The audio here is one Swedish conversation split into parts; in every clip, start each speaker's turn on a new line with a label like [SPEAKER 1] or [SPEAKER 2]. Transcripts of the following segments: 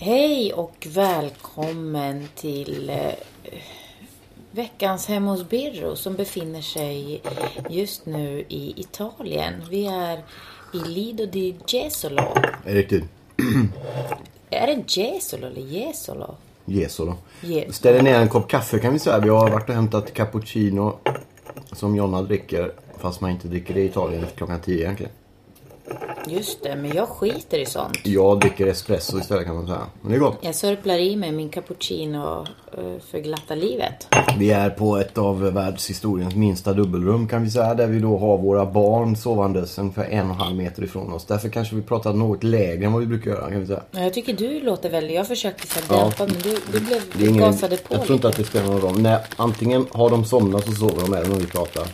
[SPEAKER 1] Hej och välkommen till eh, veckans Hem hos Birro som befinner sig just nu i Italien. Vi är i Lido di Gesolo.
[SPEAKER 2] Är riktigt.
[SPEAKER 1] Är det Gesolo eller Gesolo?
[SPEAKER 2] Gesolo.
[SPEAKER 1] Gesolo.
[SPEAKER 2] Ställer ner en kopp kaffe kan vi säga. Vi har varit och hämtat cappuccino som Jonna dricker. Fast man inte dricker det i Italien efter klockan 10 egentligen.
[SPEAKER 1] Just det, men jag skiter i sånt.
[SPEAKER 2] Jag dricker espresso istället kan man säga. Men det är gott.
[SPEAKER 1] Jag sörplar i mig min cappuccino eh, för glatta livet.
[SPEAKER 2] Vi är på ett av världshistoriens minsta dubbelrum kan vi säga. Där vi då har våra barn sovandes ungefär en och en halv meter ifrån oss. Därför kanske vi pratar något lägre än vad vi brukar göra kan vi säga.
[SPEAKER 1] Ja, Jag tycker du låter väldigt... Jag försökte så här dämpa men du, du blev
[SPEAKER 2] Det är ingen,
[SPEAKER 1] gasade på
[SPEAKER 2] jag tror
[SPEAKER 1] lite.
[SPEAKER 2] inte att det spelar någon roll. Nej, antingen har de somnat så sover de även om vi pratar.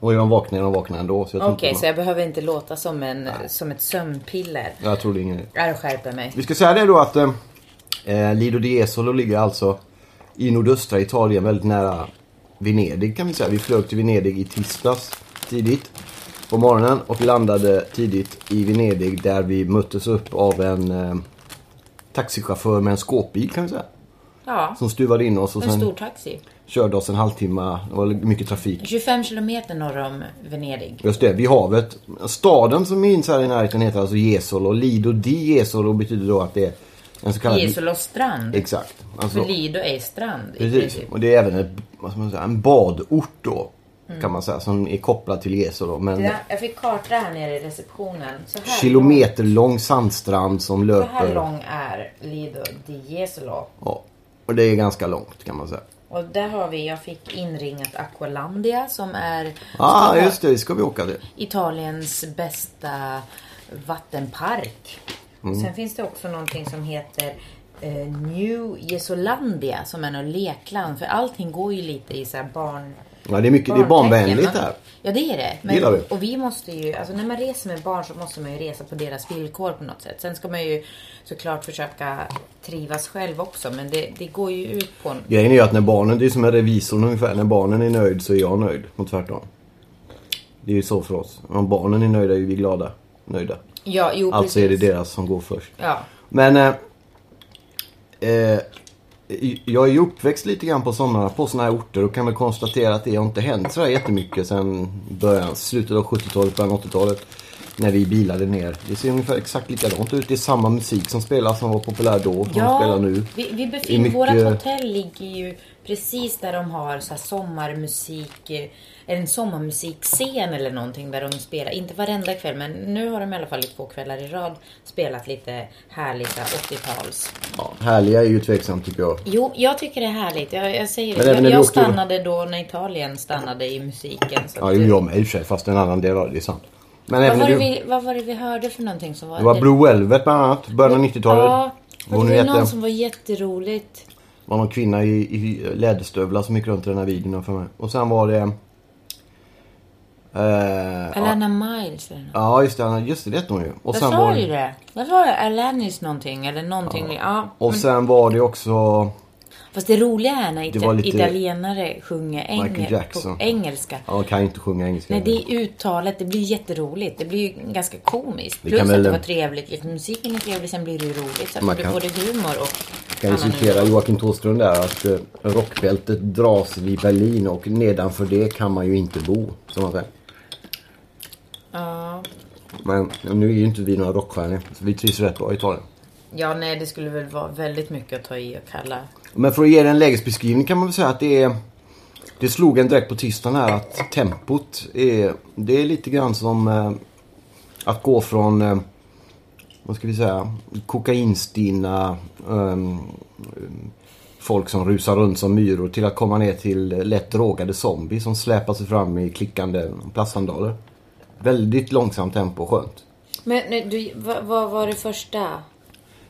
[SPEAKER 2] Och är de vakna är de vakna ändå. Så jag tror
[SPEAKER 1] Okej,
[SPEAKER 2] inte
[SPEAKER 1] så jag behöver inte låta som, en, som ett sömnpiller.
[SPEAKER 2] Jag tror det är ingen idé.
[SPEAKER 1] Jag skärper mig.
[SPEAKER 2] Vi ska säga det då att eh, Lido di Esolo ligger alltså i nordöstra Italien väldigt nära Venedig kan vi säga. Vi flög till Venedig i tisdags tidigt på morgonen och landade tidigt i Venedig där vi möttes upp av en eh, taxichaufför med en skåpbil kan vi säga.
[SPEAKER 1] Ja,
[SPEAKER 2] Som stuvade in oss och
[SPEAKER 1] en
[SPEAKER 2] sen
[SPEAKER 1] stor taxi.
[SPEAKER 2] körde oss en halvtimme. Det var mycket trafik.
[SPEAKER 1] 25 kilometer norr om Venedig.
[SPEAKER 2] Just det, vid havet. Staden som finns här i närheten heter alltså Jesolo. Lido di Jesolo betyder då att det är en så kallad...
[SPEAKER 1] Isolos strand.
[SPEAKER 2] Exakt. Alltså,
[SPEAKER 1] För Lido är strand i
[SPEAKER 2] Precis,
[SPEAKER 1] princip.
[SPEAKER 2] och det är även ett, vad ska man säga, en badort då. Kan man säga, som är kopplad till Jesu då. Men
[SPEAKER 1] Ja, jag fick karta här nere i receptionen. Så här,
[SPEAKER 2] kilometerlång sandstrand som
[SPEAKER 1] lång, så här
[SPEAKER 2] löper.
[SPEAKER 1] lång är Lido di Jesolo.
[SPEAKER 2] Ja, och det är ganska långt kan man säga.
[SPEAKER 1] Och där har vi, jag fick inringat Aqualandia som är
[SPEAKER 2] ah,
[SPEAKER 1] ska vara
[SPEAKER 2] just det, det ska vi åka till.
[SPEAKER 1] Italiens bästa vattenpark.
[SPEAKER 2] Mm.
[SPEAKER 1] Sen finns det också någonting som heter eh, New Jesolandia som är något lekland. För allting går ju lite i så här barn...
[SPEAKER 2] Ja, det är mycket, det är barnvänligt
[SPEAKER 1] barntecken, va?
[SPEAKER 2] här.
[SPEAKER 1] Ja, det är det.
[SPEAKER 2] gillar vi.
[SPEAKER 1] Och vi måste ju, alltså när man reser med barn så måste man ju resa på deras villkor på något sätt. Sen ska man ju såklart försöka trivas själv också, men det, det går ju ut på... en-
[SPEAKER 2] Grejen är ju att när barnen, det är som en revisorn ungefär. När barnen är nöjd så är jag nöjd. Och tvärtom. Det är ju så för oss. Om barnen är nöjda är ju vi glada. Nöjda.
[SPEAKER 1] Ja, jo
[SPEAKER 2] Alltså är det
[SPEAKER 1] precis.
[SPEAKER 2] deras som går först.
[SPEAKER 1] Ja.
[SPEAKER 2] Men eh, eh, jag är ju uppväxt lite grann på sådana på såna här orter och kan väl konstatera att det har inte hänt sådär jättemycket sen början, slutet av 70-talet, början av 80-talet. När vi bilade ner. Det ser ungefär exakt likadant ut. Det är samma musik som spelas som var populär då som
[SPEAKER 1] Ja,
[SPEAKER 2] spelar nu.
[SPEAKER 1] Vi, vi
[SPEAKER 2] I
[SPEAKER 1] befinner,
[SPEAKER 2] mycket-
[SPEAKER 1] vårat hotell ligger ju precis där de har så här sommarmusik, eh, en sommarmusikscen eller någonting där de spelar, inte varenda kväll men nu har de i alla fall i två kvällar i rad spelat lite härligt så här 80-tals.
[SPEAKER 2] Ja, härliga är ju tveksamt tycker jag.
[SPEAKER 1] Jo, jag tycker det är härligt. Jag, jag säger
[SPEAKER 2] Men
[SPEAKER 1] det.
[SPEAKER 2] även
[SPEAKER 1] Jag,
[SPEAKER 2] när vi
[SPEAKER 1] jag
[SPEAKER 2] åkte-
[SPEAKER 1] stannade då när Italien stannade i musiken. Så
[SPEAKER 2] Ja,
[SPEAKER 1] att
[SPEAKER 2] ju
[SPEAKER 1] det-
[SPEAKER 2] jag med i och för sig fast en annan del av det, det är sant. Men
[SPEAKER 1] vad,
[SPEAKER 2] även
[SPEAKER 1] var det
[SPEAKER 2] du,
[SPEAKER 1] vi, vad var det vi hörde för någonting som var...
[SPEAKER 2] det var Blue Velvet bland annat, början av 90-talet.
[SPEAKER 1] Ja,
[SPEAKER 2] Vad
[SPEAKER 1] och
[SPEAKER 2] hon
[SPEAKER 1] det var
[SPEAKER 2] heter.
[SPEAKER 1] någon som var jätteroligt.
[SPEAKER 2] Det var någon kvinna i, i läderstövlar som gick runt i den här videon för mig. Och sen var det... Eh, ja,
[SPEAKER 1] Alana Miles eller något.
[SPEAKER 2] ja, just det. Just det, det hette hon ju. Och
[SPEAKER 1] Jag
[SPEAKER 2] sen,
[SPEAKER 1] sa
[SPEAKER 2] var,
[SPEAKER 1] ju det. Jag var Alanis någonting eller någonting. Ja.
[SPEAKER 2] och sen var det också...
[SPEAKER 1] Fast det roliga är när
[SPEAKER 2] Det var lite-
[SPEAKER 1] italienare sjunger
[SPEAKER 2] Michael
[SPEAKER 1] engel,
[SPEAKER 2] Jackson.
[SPEAKER 1] på engelska.
[SPEAKER 2] Ja, hon kan ju inte sjunga engelska.
[SPEAKER 1] Nej, det är uttalet. Det blir jätteroligt. Det blir ju ganska komiskt.
[SPEAKER 2] Vi
[SPEAKER 1] Plus
[SPEAKER 2] kan
[SPEAKER 1] att
[SPEAKER 2] väl-
[SPEAKER 1] det var trevligt. Liksom, musiken är trevlig, sen blir det ju roligt. Så
[SPEAKER 2] Man
[SPEAKER 1] att det
[SPEAKER 2] kan-
[SPEAKER 1] både humor och...
[SPEAKER 2] kan ju
[SPEAKER 1] annan
[SPEAKER 2] citera Joakim Thåström där att eh, rockbältet dras vid Berlin och nedanför det kan man ju inte bo. Som man säger.
[SPEAKER 1] Ja.
[SPEAKER 2] Men nu är ju inte vi några rockstjärnor. Så vi trivs rätt bra i Italien.
[SPEAKER 1] ja, nej, det skulle väl vara väldigt mycket att ta i och kalla.
[SPEAKER 2] Men för att ge dig en lägesbeskrivning kan man väl säga att det är... Det slog en direkt på tisdagen här att tempot är... Det är lite grann som eh, att gå från... Eh, vad ska vi säga? Kokainstinna ehm, folk som rusar runt som myror till att komma ner till lätt drogade zombies som släpar sig fram i klickande plastsandaler. Väldigt långsamt tempo, skönt.
[SPEAKER 1] Men nu, du, vad, vad var det första?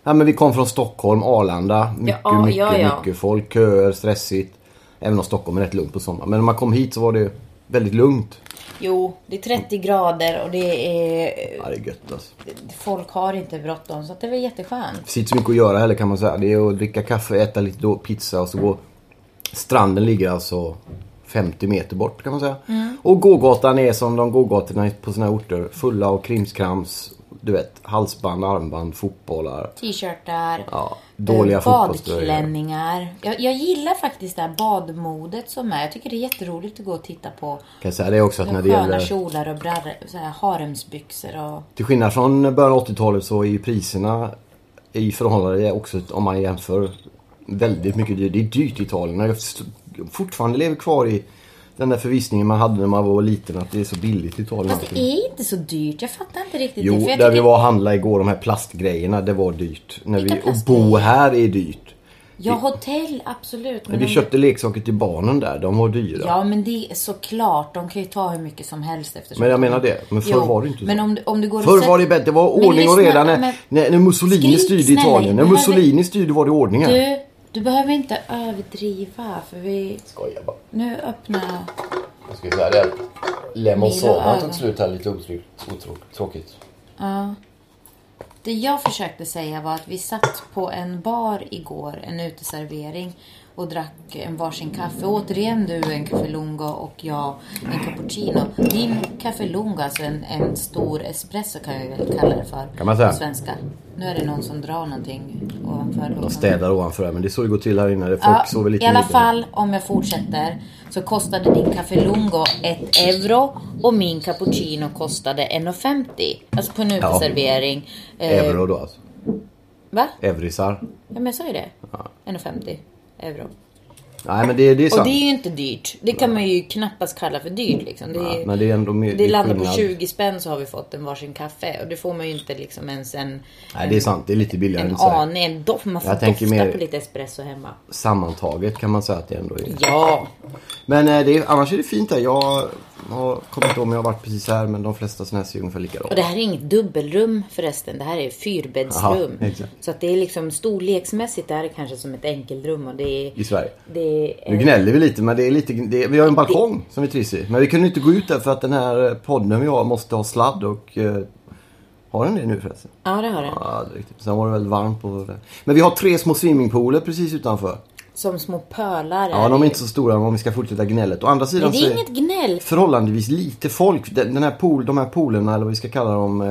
[SPEAKER 2] Ja, men vi kom från Stockholm, Arlanda. Mycket,
[SPEAKER 1] ja,
[SPEAKER 2] mycket,
[SPEAKER 1] ja, ja.
[SPEAKER 2] mycket folk. Köer, stressigt. Även om Stockholm är rätt lugnt på sommaren. Men när man kom hit så var det väldigt lugnt.
[SPEAKER 1] Jo, det är 30 grader och det är...
[SPEAKER 2] Ja, det är gött alltså.
[SPEAKER 1] Folk har inte bråttom så att det var jätteskönt.
[SPEAKER 2] Det finns inte så mycket att göra heller kan man säga. Det är att dricka kaffe, äta lite då- pizza och så gå. Stranden ligger alltså 50 meter bort kan man säga.
[SPEAKER 1] Mm.
[SPEAKER 2] Och gågatan är som de gågatorna på sina orter. Fulla av krimskrams. Du vet, halsband, armband, fotbollar.
[SPEAKER 1] T-shirtar,
[SPEAKER 2] Ja, dåliga
[SPEAKER 1] eh,
[SPEAKER 2] fotbollströjor.
[SPEAKER 1] badklänningar. Jag, jag gillar faktiskt det här badmodet som är. Jag tycker det är jätteroligt att gå och titta på.
[SPEAKER 2] Kan jag säga det också att när det
[SPEAKER 1] sköna
[SPEAKER 2] gäller...
[SPEAKER 1] kjolar och brarre, så här haremsbyxor och...
[SPEAKER 2] Till skillnad från början av 80-talet så är ju priserna i förhållande också om man jämför väldigt mycket dyrt. Det är dyrt i Italien. Jag först- fortfarande lever kvar i den där förvissningen man hade när man var liten att det är så billigt i Italien.
[SPEAKER 1] Fast det är inte så dyrt. Jag fattar inte riktigt
[SPEAKER 2] Jo,
[SPEAKER 1] det. jag
[SPEAKER 2] där vi
[SPEAKER 1] tycker-
[SPEAKER 2] var och handlade igår, de här plastgrejerna, det var dyrt. När vi,
[SPEAKER 1] Vilka
[SPEAKER 2] och bo
[SPEAKER 1] plastgrejer?
[SPEAKER 2] här är dyrt.
[SPEAKER 1] Ja, hotell absolut.
[SPEAKER 2] Men vi
[SPEAKER 1] om-
[SPEAKER 2] köpte leksaker till barnen där, de var dyra.
[SPEAKER 1] Ja, men det är såklart. De kan ju ta hur mycket som helst eftersom...
[SPEAKER 2] Men jag menar det. Men förr
[SPEAKER 1] Jo,
[SPEAKER 2] var det inte så.
[SPEAKER 1] Men om, du- om du går och
[SPEAKER 2] Förr
[SPEAKER 1] sätter-
[SPEAKER 2] var det bättre, det var
[SPEAKER 1] Men
[SPEAKER 2] ordning och
[SPEAKER 1] lyssna,
[SPEAKER 2] reda när,
[SPEAKER 1] men-
[SPEAKER 2] när, när Mussolini
[SPEAKER 1] Skrik,
[SPEAKER 2] styrde
[SPEAKER 1] snälla,
[SPEAKER 2] Italien. När
[SPEAKER 1] behöver-
[SPEAKER 2] Mussolini styrde var det ordningar.
[SPEAKER 1] Du, du behöver inte överdriva för vi...
[SPEAKER 2] Skojar bara.
[SPEAKER 1] Nu öppnar...
[SPEAKER 2] Jag ska säga det. Lemon
[SPEAKER 1] Milo
[SPEAKER 2] Soda
[SPEAKER 1] över.
[SPEAKER 2] tog slut här lite otryggt. Otrå- tråkigt.
[SPEAKER 1] Det jag försökte säga var att vi satt på en bar igår, en uteservering och drack en varsin kaffe. Återigen du en Café Lungo och jag en cappuccino. Din Café Lungo, alltså en, en stor espresso kan vi väl kalla det för
[SPEAKER 2] Kan man säga.
[SPEAKER 1] på svenska. Nu är det någon som drar någonting ovanför.
[SPEAKER 2] De städar ovanför här men det är så det går till här inne. Folk
[SPEAKER 1] Ja,
[SPEAKER 2] sover lite
[SPEAKER 1] I alla
[SPEAKER 2] mindre.
[SPEAKER 1] fall, om jag fortsätter, så kostade din Café Lungo 1 euro och min cappuccino kostade 1,50. Alltså på en uteservering. Eh,
[SPEAKER 2] Euro då alltså.
[SPEAKER 1] Va?
[SPEAKER 2] Eurisar.
[SPEAKER 1] Ja, men jag sa ju det. 1,50 euro.
[SPEAKER 2] Nej men det, det är
[SPEAKER 1] Och
[SPEAKER 2] sant.
[SPEAKER 1] det är ju inte dyrt. Det kan man ju knappast kalla för dyrt. Liksom. Det, är,
[SPEAKER 2] Men det är ändå mer- det
[SPEAKER 1] det
[SPEAKER 2] är
[SPEAKER 1] landar på
[SPEAKER 2] skillnad.
[SPEAKER 1] 20 spänn så har vi fått en varsin kaffe. Och det får man ju inte liksom ens en,
[SPEAKER 2] Nej det är sant. Det är lite billigare än
[SPEAKER 1] en
[SPEAKER 2] så här.
[SPEAKER 1] aning. En doft. Man får
[SPEAKER 2] Jag tänker
[SPEAKER 1] dofta
[SPEAKER 2] mer-
[SPEAKER 1] på lite espresso hemma.
[SPEAKER 2] Sammantaget kan man säga att det ändå är.
[SPEAKER 1] Ja.
[SPEAKER 2] Men eh, det är, annars är det fint här. Jag har kommit ihåg om jag har varit precis här men de flesta sådana här ser ungefär
[SPEAKER 1] Och
[SPEAKER 2] likadana.
[SPEAKER 1] det här är inget dubbelrum förresten. Det här är fyrbäddsrum.
[SPEAKER 2] Aha, exakt.
[SPEAKER 1] så att det är liksom storleksmässigt är det kanske som ett enkelrum. Och det är...
[SPEAKER 2] I Sverige.
[SPEAKER 1] Det är
[SPEAKER 2] Nu gnäller vi lite men det är lite, det, vi har en balkong som vi trivs i. Men vi kunde inte gå ut där för att den här podden vi har måste ha sladd och eh, har den det nu förresten?
[SPEAKER 1] Ja, det har det.
[SPEAKER 2] Ja, det är riktigt. Sen var det väldigt varmt på Men vi har tre små swimmingpooler precis utanför.
[SPEAKER 1] Som små pölar.
[SPEAKER 2] Ja,
[SPEAKER 1] är
[SPEAKER 2] de är
[SPEAKER 1] det
[SPEAKER 2] inte så stora om vi ska fortsätta gnället. Å andra
[SPEAKER 1] ju. Men
[SPEAKER 2] sidan
[SPEAKER 1] det
[SPEAKER 2] så
[SPEAKER 1] är inget gnäll.
[SPEAKER 2] förhållandevis lite folk. Den den här pool, de här poolerna, eller vad vi ska kalla dem, eh,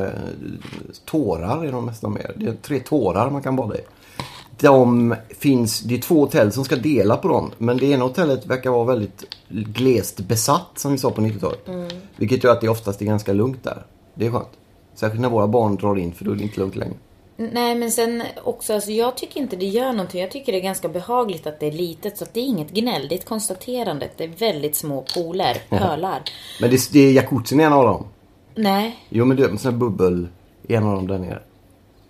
[SPEAKER 2] tårar är de nästan mer. Det är tre tårar man kan bada i. De finns, det är två hotell som ska dela på dem. Men det ena hotellet verkar vara väldigt glest besatt som vi sa på 90-talet.
[SPEAKER 1] Mm.
[SPEAKER 2] Vilket gör att det oftast är ganska lugnt där. Det är skönt. Särskilt när våra barn drar in för då är det inte lugnt längre.
[SPEAKER 1] Nej men sen också, alltså jag tycker inte det gör någonting. Jag tycker det är ganska behagligt att det är litet. Så att det är inget gnäll, det är ett konstaterande. att Det är väldigt små pooler, pölar.
[SPEAKER 2] Men det, det är jacuzzin i en av dem.
[SPEAKER 1] Nej.
[SPEAKER 2] Jo men du, en sån här bubbel i en av dem där nere.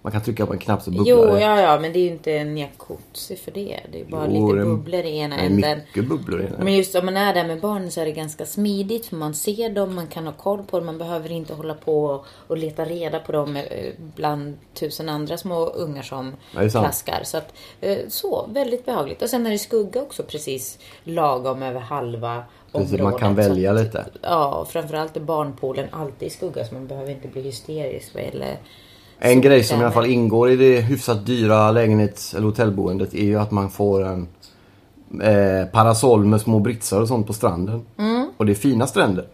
[SPEAKER 2] Man kan trycka på en knapp så bubblar
[SPEAKER 1] Jo,
[SPEAKER 2] det.
[SPEAKER 1] ja, ja, men det är ju inte en jacuzzi för det. Det är bara
[SPEAKER 2] Jo,
[SPEAKER 1] lite
[SPEAKER 2] det-
[SPEAKER 1] bubblor i ena
[SPEAKER 2] det är
[SPEAKER 1] änden.
[SPEAKER 2] mycket bubblor i den.
[SPEAKER 1] Men just om man är där med barnen så är det ganska smidigt. För man ser dem, man kan ha koll på dem. Man behöver inte hålla på och leta reda på dem eh, bland tusen andra små ungar som
[SPEAKER 2] Ja, det är sant.
[SPEAKER 1] plaskar. Så, att, eh, så, väldigt behagligt. Och sen är det skugga också precis lagom över halva
[SPEAKER 2] Precis,
[SPEAKER 1] området.
[SPEAKER 2] man kan
[SPEAKER 1] Så
[SPEAKER 2] välja
[SPEAKER 1] att,
[SPEAKER 2] lite.
[SPEAKER 1] Ja, och framförallt är barnpoolen alltid i skugga. Så man behöver inte bli hysterisk vad gäller
[SPEAKER 2] En grej som i alla
[SPEAKER 1] solvärme.
[SPEAKER 2] fall ingår i det hyfsat dyra lägenhets eller hotellboendet är ju att man får en eh, parasoll med små britsar och sånt på stranden. Och det är fina stränder.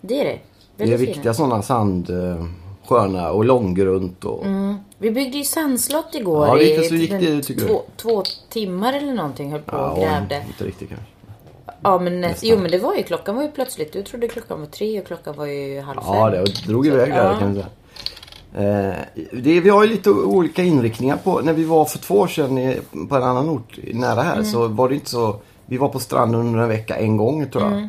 [SPEAKER 1] Det är det.
[SPEAKER 2] Det är
[SPEAKER 1] Mm. Väldigt fina.
[SPEAKER 2] viktiga sådana sand, eh, sköna och långgrunt och...
[SPEAKER 1] Vi byggde ju sandslott igår.
[SPEAKER 2] Ja, lite
[SPEAKER 1] i
[SPEAKER 2] så gick det,
[SPEAKER 1] den-
[SPEAKER 2] tycker du.
[SPEAKER 1] två, två timmar eller någonting höll på
[SPEAKER 2] Ja,
[SPEAKER 1] och grävde.
[SPEAKER 2] inte riktigt kanske.
[SPEAKER 1] Ja, men nä- jo, men det var ju klockan var ju plötsligt. Du trodde klockan var tre och klockan var ju halv fem.
[SPEAKER 2] Ja, det och drog iväg där kan jag säga. Eh, det, vi har ju lite o- olika inriktningar på. När vi var för två år sedan i, på en annan ort nära här så
[SPEAKER 1] Mm.
[SPEAKER 2] var det inte så. Vi var på stranden under en vecka en gång tror
[SPEAKER 1] Mm.
[SPEAKER 2] jag.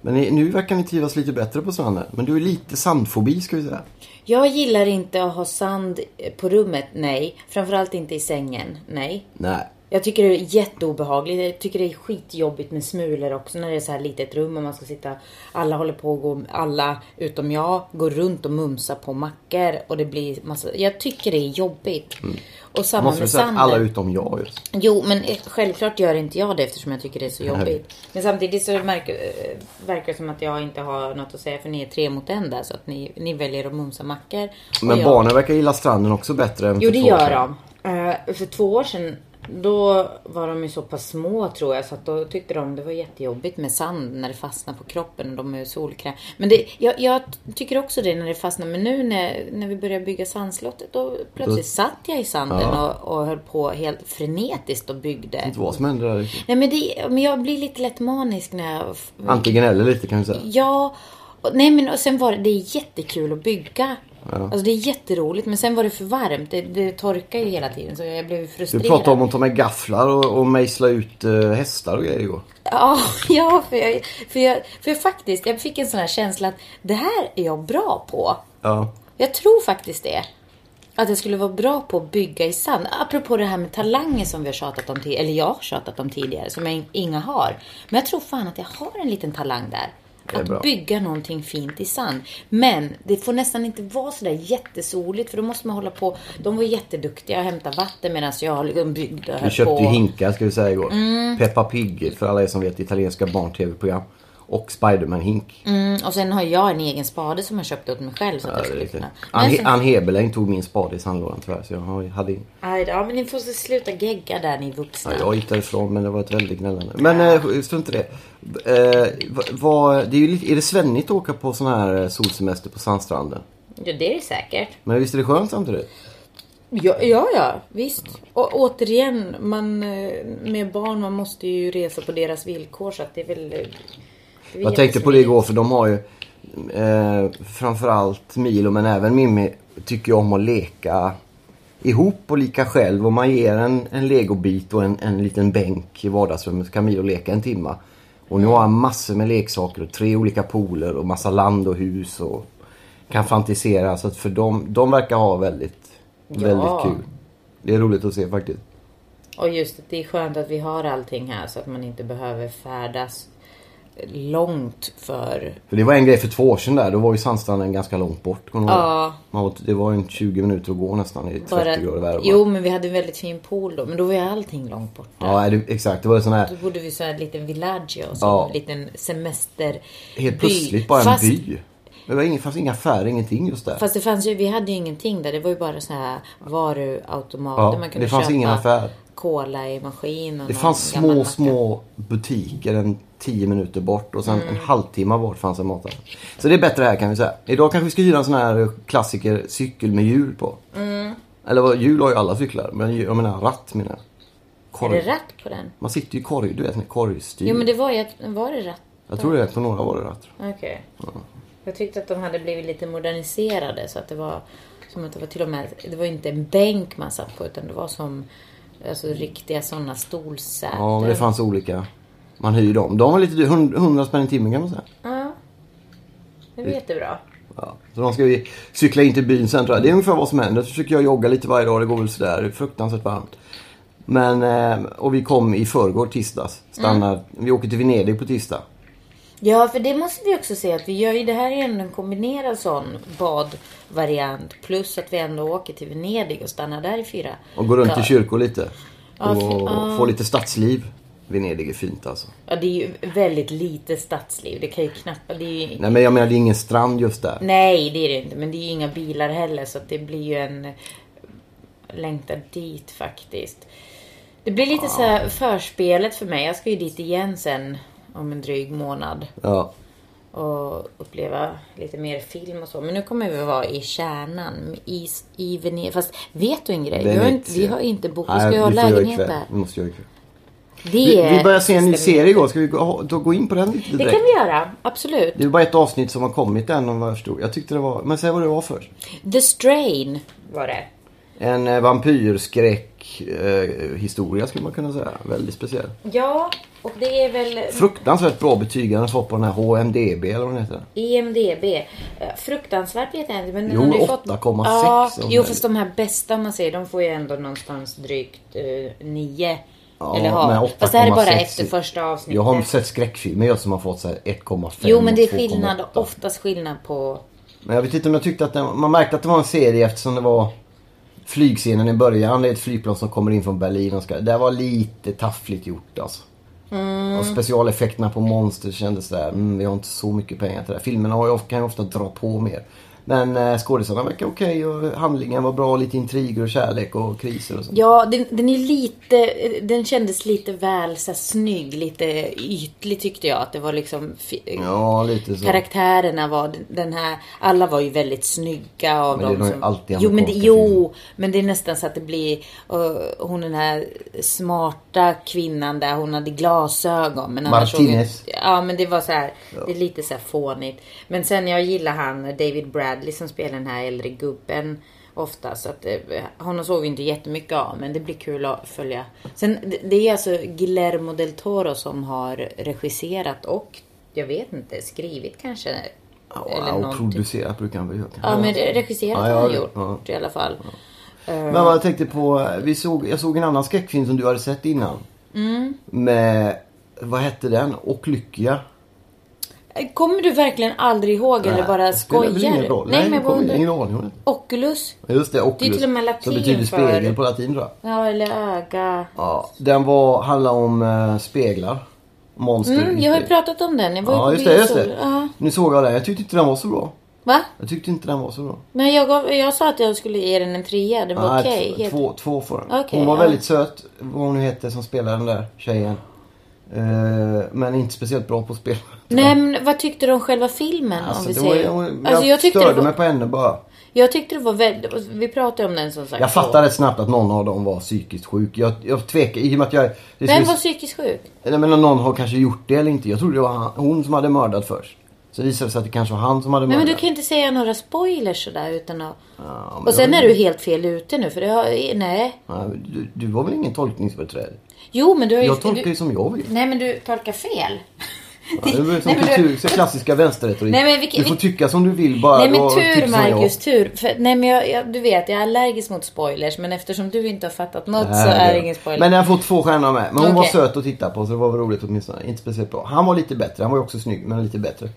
[SPEAKER 2] Men ni, nu verkar ni trivas lite bättre på stranden. Men du är lite sandfobi ska vi säga.
[SPEAKER 1] Jag gillar inte att ha sand eh, på rummet, nej. Framförallt inte i sängen, nej.
[SPEAKER 2] Nej.
[SPEAKER 1] Jag tycker det är jätteobehagligt. Jag tycker det är skitjobbigt med smulor också när det är så här litet rum och man ska sitta. Alla håller på och går, alla utom jag går runt och mumsar på mackor och det blir massa. Jag tycker det är jobbigt. Och samma
[SPEAKER 2] Mm. Måste vi
[SPEAKER 1] med
[SPEAKER 2] säga att alla
[SPEAKER 1] sanden.
[SPEAKER 2] utom jag just.
[SPEAKER 1] Jo, men självklart gör inte jag det eftersom jag tycker det är så jobbigt. Men samtidigt så märker, eh, verkar det som att jag inte har något att säga för ni är tre mot en där så att ni, ni väljer att mumsa mackor. Och
[SPEAKER 2] Men
[SPEAKER 1] jag-
[SPEAKER 2] barnen verkar gilla stranden också bättre än
[SPEAKER 1] Jo,
[SPEAKER 2] för
[SPEAKER 1] det
[SPEAKER 2] två år
[SPEAKER 1] gör
[SPEAKER 2] sedan.
[SPEAKER 1] de. Eh, för två år sedan, då var de ju så pass små tror jag, så att då tyckte de det var jättejobbigt med sand när det fastnar på kroppen och de är solkräm. Men det, jag, jag tycker också det när det fastnar, men nu när, när vi började bygga sandslottet, då plötsligt satt jag i sanden
[SPEAKER 2] Ja.
[SPEAKER 1] och, och höll på helt frenetiskt och byggde.
[SPEAKER 2] Det var vad som hände där riktigt.
[SPEAKER 1] Nej, men, det, men jag blir lite lätt manisk när jag... f-
[SPEAKER 2] Antingen eller lite kan vi säga.
[SPEAKER 1] Ja. Och, nej men och sen var det, det är jättekul att bygga. Alltså det är jätteroligt men sen var det för varmt. Det, det torkar ju hela tiden så jag blev
[SPEAKER 2] Du
[SPEAKER 1] frustrerad.
[SPEAKER 2] pratade om att ta med gafflar och, och mejsla ut eh, hästar och grejer igår.
[SPEAKER 1] Ja, ja för, jag, för, jag, för jag faktiskt, jag fick en sån här känsla att det här är jag bra på.
[SPEAKER 2] Ja.
[SPEAKER 1] Jag tror faktiskt det. Att jag skulle vara bra på att bygga i sand. Apropå det här med talanger som vi har tjatat om, ti- eller jag har tjatat om tidigare, som jag inga har. Men jag tror fan att jag har en liten talang där.
[SPEAKER 2] är
[SPEAKER 1] Att
[SPEAKER 2] bra.
[SPEAKER 1] bygga någonting fint i sand. Men det får nästan inte vara sådär jättesoligt för då måste man hålla på. De var jätteduktiga och hämtade vatten medan jag liksom byggde och
[SPEAKER 2] Vi
[SPEAKER 1] höll
[SPEAKER 2] köpte ju
[SPEAKER 1] på. Mm.
[SPEAKER 2] hinkar ska vi säga igår. Peppa Pig för alla er som vet italienska barn-tv-program. Och Spiderman-hink.
[SPEAKER 1] Mm, och sen har jag en egen spade som jag köpte åt mig själv. Så att
[SPEAKER 2] Ja,
[SPEAKER 1] jag
[SPEAKER 2] det är
[SPEAKER 1] skulle
[SPEAKER 2] riktigt.
[SPEAKER 1] kunna. Men
[SPEAKER 2] Ann,
[SPEAKER 1] sen-
[SPEAKER 2] Ann Heberlein tog min spade i sandlådan tyvärr så jag har- hade ingen.
[SPEAKER 1] Aj då, men ni får sluta gegga där ni vuxna.
[SPEAKER 2] Ja, jag gick därifrån men det var ett väldigt gnällande. Men eh, strunt i det. Eh, va, va, det är, ju lite, är det svennigt att åka på sån här eh, solsemester på sandstranden?
[SPEAKER 1] Ja, det är det säkert.
[SPEAKER 2] Men visst är det skönt samtidigt?
[SPEAKER 1] Ja, ja, ja visst. Och återigen, man, eh, med barn man måste ju resa på deras villkor så att det är väl... eh, det är
[SPEAKER 2] Jag tänkte på det
[SPEAKER 1] jättesmidigt.
[SPEAKER 2] igår för de har ju eh, framförallt Milo men även Mimmi tycker ju om att leka ihop och leka själv. Och man ger en, en legobit och en, en liten bänk i vardagsrummet så kan Milo leka en timma. Och nu har han massor med leksaker och tre olika pooler och massa land och hus och kan fantisera. Så att för dem, de verkar ha väldigt, väldigt kul. Det är roligt att se faktiskt.
[SPEAKER 1] Och just att det är skönt att vi har allting här så att man inte behöver färdas långt för...
[SPEAKER 2] För det var en grej för två år sedan där, då var ju sandstranden ganska långt bort. Kommer du ihåg det?
[SPEAKER 1] Ja.
[SPEAKER 2] Man var, det var en 20 minuter att gå nästan i 30
[SPEAKER 1] Bara,
[SPEAKER 2] grader värme.
[SPEAKER 1] jo, men vi hade en väldigt fin pool då, men då var ju allting långt borta.
[SPEAKER 2] Ja, är det, exakt. Det var ju sån här
[SPEAKER 1] Då bodde vi så här en liten villaggio, så
[SPEAKER 2] Ja.
[SPEAKER 1] en liten semester
[SPEAKER 2] helt plötsligt bara en by. Det var ingen, fanns inga affärer, ingenting just där.
[SPEAKER 1] Fast det fanns ju, vi hade ju ingenting där. Det var ju bara så här varuautomater.
[SPEAKER 2] Ja,
[SPEAKER 1] man kunde
[SPEAKER 2] det fanns
[SPEAKER 1] köpa
[SPEAKER 2] ingen affär.
[SPEAKER 1] Cola i maskin. Och
[SPEAKER 2] det
[SPEAKER 1] någon
[SPEAKER 2] fanns
[SPEAKER 1] gammal
[SPEAKER 2] små,
[SPEAKER 1] macka.
[SPEAKER 2] små butiker en 10 minuter bort och sen en
[SPEAKER 1] Mm.
[SPEAKER 2] halvtimme bort fanns en mataffär. Så det är bättre här kan vi säga. Idag kanske vi ska hyra en sån här klassiker cykel med hjul på.
[SPEAKER 1] Mm.
[SPEAKER 2] Eller vad- hjul har ju alla cyklar, men jag menar ratt menar jag.
[SPEAKER 1] Är
[SPEAKER 2] Korg. Mm.
[SPEAKER 1] det ratt på den?
[SPEAKER 2] Man sitter ju i korg, du vet, en korgstyr.
[SPEAKER 1] Jo men det var ju, att- var det ratt?
[SPEAKER 2] Jag tror det är på några var det ratt.
[SPEAKER 1] Okej. Jag tyckte att de hade blivit lite moderniserade så att det var som att det var till och med, det var inte en bänk man satt på utan det var som alltså, riktiga sådana stolsäten.
[SPEAKER 2] Ja, men det fanns olika. Man hyr dem. De var lite dyra. 100 spänn i timmen kan man säga.
[SPEAKER 1] Ja. Det var jättebra.
[SPEAKER 2] Ja. Så de ska vi cykla in till byn sen tror jag. Det är ungefär vad som händer. Så försöker jag jogga lite varje dag. Det går väl sådär. Det är fruktansvärt varmt. Men, eh, och vi kom i förrgår tisdags. Stannar,
[SPEAKER 1] Mm.
[SPEAKER 2] Vi åker till Venedig på tisdag.
[SPEAKER 1] Ja, för det måste vi också säga att vi gör ju det här är ändå en kombinerad sån badvariant plus att vi ändå åker till Venedig och stannar där i fyra
[SPEAKER 2] Och går runt
[SPEAKER 1] dagar.
[SPEAKER 2] i kyrkor lite.
[SPEAKER 1] Ja,
[SPEAKER 2] Och
[SPEAKER 1] fy- ja.
[SPEAKER 2] får lite stadsliv. Venedig är fint alltså.
[SPEAKER 1] Ja, det är ju väldigt lite stadsliv. Det kan ju knappt... Det är ju...
[SPEAKER 2] Nej men jag menar det är ingen strand just där.
[SPEAKER 1] Nej, det är det ju inte. Men det är ju inga bilar heller så att det blir ju en längtan dit faktiskt. Det blir lite så här förspelet för mig. Jag ska ju dit igen sen om en dryg månad.
[SPEAKER 2] Ja.
[SPEAKER 1] och uppleva lite mer film och så. Men nu kommer vi vara i kärnan i, i Venedig. Fast vet du en grej? Vi har, inte, vi
[SPEAKER 2] Venezia.
[SPEAKER 1] har inte bokat. Vi
[SPEAKER 2] Nej,
[SPEAKER 1] ska ju ha
[SPEAKER 2] vi får göra
[SPEAKER 1] lägenhet
[SPEAKER 2] ikväll.
[SPEAKER 1] där.
[SPEAKER 2] Vi måste göra ikväll.
[SPEAKER 1] Det
[SPEAKER 2] Vi, vi börjar se en ny
[SPEAKER 1] bestämmer-
[SPEAKER 2] serie igår. Ska vi gå, då gå in på den lite direkt?
[SPEAKER 1] Det kan vi göra, absolut.
[SPEAKER 2] Det är bara ett avsnitt som har kommit än om vad jag förstod. Jag tyckte det var... Men säg vad det var först.
[SPEAKER 1] The Strain var det.
[SPEAKER 2] En eh, vampyrskräckhistoria eh, historia skulle man kunna säga. Väldigt speciell.
[SPEAKER 1] Ja, och det är väl
[SPEAKER 2] Fruktansvärt bra betyg han har fått på den här HMDB eller vad den heter.
[SPEAKER 1] E IMDB. Eh, Fruktansvärt vet jag inte. Men den
[SPEAKER 2] Jo,
[SPEAKER 1] har ju
[SPEAKER 2] 8,6
[SPEAKER 1] Ja,
[SPEAKER 2] om
[SPEAKER 1] jo,
[SPEAKER 2] det.
[SPEAKER 1] fast de här bästa om man säger, de får ju ändå någonstans drygt eh, 9.
[SPEAKER 2] Ja,
[SPEAKER 1] Eller har.
[SPEAKER 2] men
[SPEAKER 1] Fast det här är bara
[SPEAKER 2] 8,6.
[SPEAKER 1] efter första avsnittet.
[SPEAKER 2] Jag har sett skräckfilmer jag som har fått så här 1,5
[SPEAKER 1] Jo men det är
[SPEAKER 2] och 2,8.
[SPEAKER 1] skillnad, oftast skillnad på...
[SPEAKER 2] Men jag vet inte om jag tyckte att den, man märkte att det var en serie eftersom det var flygscenen i början. Det är ett flygplan som kommer in från Berlin. Och ska, det var lite taffligt gjort alltså.
[SPEAKER 1] Mm.
[SPEAKER 2] Och specialeffekterna på monster kändes där. Mm, vi har inte så mycket pengar till det. här. Filmerna har ju, of- kan ju ofta dra på mer. Men eh, skådisarna verkar okej och handlingen var bra. Lite intriger och kärlek och kriser och sånt.
[SPEAKER 1] Ja, den, den är lite... Den kändes lite väl så här, snygg, lite ytlig tyckte jag. Att det var liksom... fi-
[SPEAKER 2] Ja, lite så.
[SPEAKER 1] Karaktärerna var den här, alla var ju väldigt snygga av
[SPEAKER 2] Men det är
[SPEAKER 1] dem
[SPEAKER 2] nog
[SPEAKER 1] som...
[SPEAKER 2] alltid
[SPEAKER 1] jo, men det,
[SPEAKER 2] amerikanska
[SPEAKER 1] jo, men det är nästan så att det blir eh, hon den här smarta kvinnan där, hon hade glasögon. Men annars såg
[SPEAKER 2] Martinez.
[SPEAKER 1] jag- ja, men det var så här, det är lite så här fånigt. Men sen jag gillar han David Bradley som spelar den här äldre gubben. Ofta, så att eh, honom såg vi inte jättemycket av men det blir kul att följa. Sen det- det är alltså Guillermo del Toro som har regisserat och jag vet inte, skrivit kanske.
[SPEAKER 2] Ja, och
[SPEAKER 1] någonting.
[SPEAKER 2] producera brukar han väl göra.
[SPEAKER 1] Ja, men
[SPEAKER 2] det...
[SPEAKER 1] regisserat
[SPEAKER 2] Ja,
[SPEAKER 1] har
[SPEAKER 2] ja,
[SPEAKER 1] han
[SPEAKER 2] ja.
[SPEAKER 1] gjort i alla fall. Eh,
[SPEAKER 2] Men jag tänkte på, vi såg, jag såg en annan skräckfilm som du hade sett innan.
[SPEAKER 1] Mm.
[SPEAKER 2] Med, vad hette den? Och lycka.
[SPEAKER 1] Kommer du verkligen aldrig ihåg eller bara skojar?
[SPEAKER 2] Det spelar väl ingen roll? Nej,
[SPEAKER 1] men
[SPEAKER 2] det
[SPEAKER 1] jag bara
[SPEAKER 2] kommer
[SPEAKER 1] undrar.
[SPEAKER 2] ingen aning om det.
[SPEAKER 1] Oculus?
[SPEAKER 2] Just det, Oculus.
[SPEAKER 1] Det är till och med
[SPEAKER 2] Som
[SPEAKER 1] latin
[SPEAKER 2] betyder
[SPEAKER 1] för-
[SPEAKER 2] spegel på latin tror jag.
[SPEAKER 1] Ja, eller öga.
[SPEAKER 2] Ja, den var, handlar om eh, speglar. Monster.
[SPEAKER 1] Mm,
[SPEAKER 2] i
[SPEAKER 1] jag har ju
[SPEAKER 2] spegel.
[SPEAKER 1] pratat om den. Jag var ju
[SPEAKER 2] Ja,
[SPEAKER 1] på
[SPEAKER 2] just det. Just
[SPEAKER 1] biosol.
[SPEAKER 2] det.
[SPEAKER 1] Ja.
[SPEAKER 2] Nu såg jag den. Jag tyckte inte den var så bra.
[SPEAKER 1] Va?
[SPEAKER 2] Jag tyckte inte den var så bra.
[SPEAKER 1] Men jag, gav, jag sa att jag skulle ge den en trea. Den var
[SPEAKER 2] Nej,
[SPEAKER 1] okej.
[SPEAKER 2] Ah, två,
[SPEAKER 1] helt-
[SPEAKER 2] två, två får den.
[SPEAKER 1] Okej,
[SPEAKER 2] hon var
[SPEAKER 1] ja.
[SPEAKER 2] väldigt söt, vad hon nu hette som spelade den där tjejen. Eh, men inte speciellt bra på spel.
[SPEAKER 1] Nej, men vad tyckte du om själva filmen? om
[SPEAKER 2] Alltså,
[SPEAKER 1] vi
[SPEAKER 2] det var,
[SPEAKER 1] säger?
[SPEAKER 2] jag, jag,
[SPEAKER 1] alltså, jag, tyckte det
[SPEAKER 2] störde
[SPEAKER 1] var,
[SPEAKER 2] mig på henne bara.
[SPEAKER 1] jag tyckte det var väldigt... Vi pratade om den som sagt.
[SPEAKER 2] Jag fattade rätt snabbt att någon av dem var psykiskt sjuk. Jag, jag tvekar i och med att jag... Det
[SPEAKER 1] Vem
[SPEAKER 2] finns,
[SPEAKER 1] var psykiskt sjuk?
[SPEAKER 2] Jag menar, någon har kanske gjort det eller inte. Jag trodde det var han, hon som hade mördat först. Så visade det sig att det kanske var han som hade
[SPEAKER 1] Nej,
[SPEAKER 2] mördat.
[SPEAKER 1] men du kan inte säga några spoilers sådär utan att...
[SPEAKER 2] Ja, men
[SPEAKER 1] Och sen
[SPEAKER 2] jag-
[SPEAKER 1] är du helt fel ute nu för det har... Nej.
[SPEAKER 2] Nej, men du, du var väl ingen tolkningsföreträdare?
[SPEAKER 1] Jo, men du har ju...
[SPEAKER 2] Jag tolkar
[SPEAKER 1] du...
[SPEAKER 2] ju som jag vill.
[SPEAKER 1] Nej, men du tolkar fel.
[SPEAKER 2] Ja, det är väl som
[SPEAKER 1] Nej, men du-
[SPEAKER 2] kultur, så klassiska vänsterretorik.
[SPEAKER 1] Nej, men vilken-
[SPEAKER 2] du får tycka som du vill bara.
[SPEAKER 1] Nej men
[SPEAKER 2] du har
[SPEAKER 1] tur
[SPEAKER 2] tyckt som jag.
[SPEAKER 1] Marcus, tur. För, nej men jag, jag, du vet, jag är allergisk mot spoilers men eftersom du inte har fattat något så är det ingen spoiler.
[SPEAKER 2] Men den har fått två stjärnor med. Men hon var
[SPEAKER 1] Okej.
[SPEAKER 2] söt att titta på så det var väl roligt åtminstone. Inte speciellt bra. Han var lite bättre. Han var ju också snygg men lite bättre.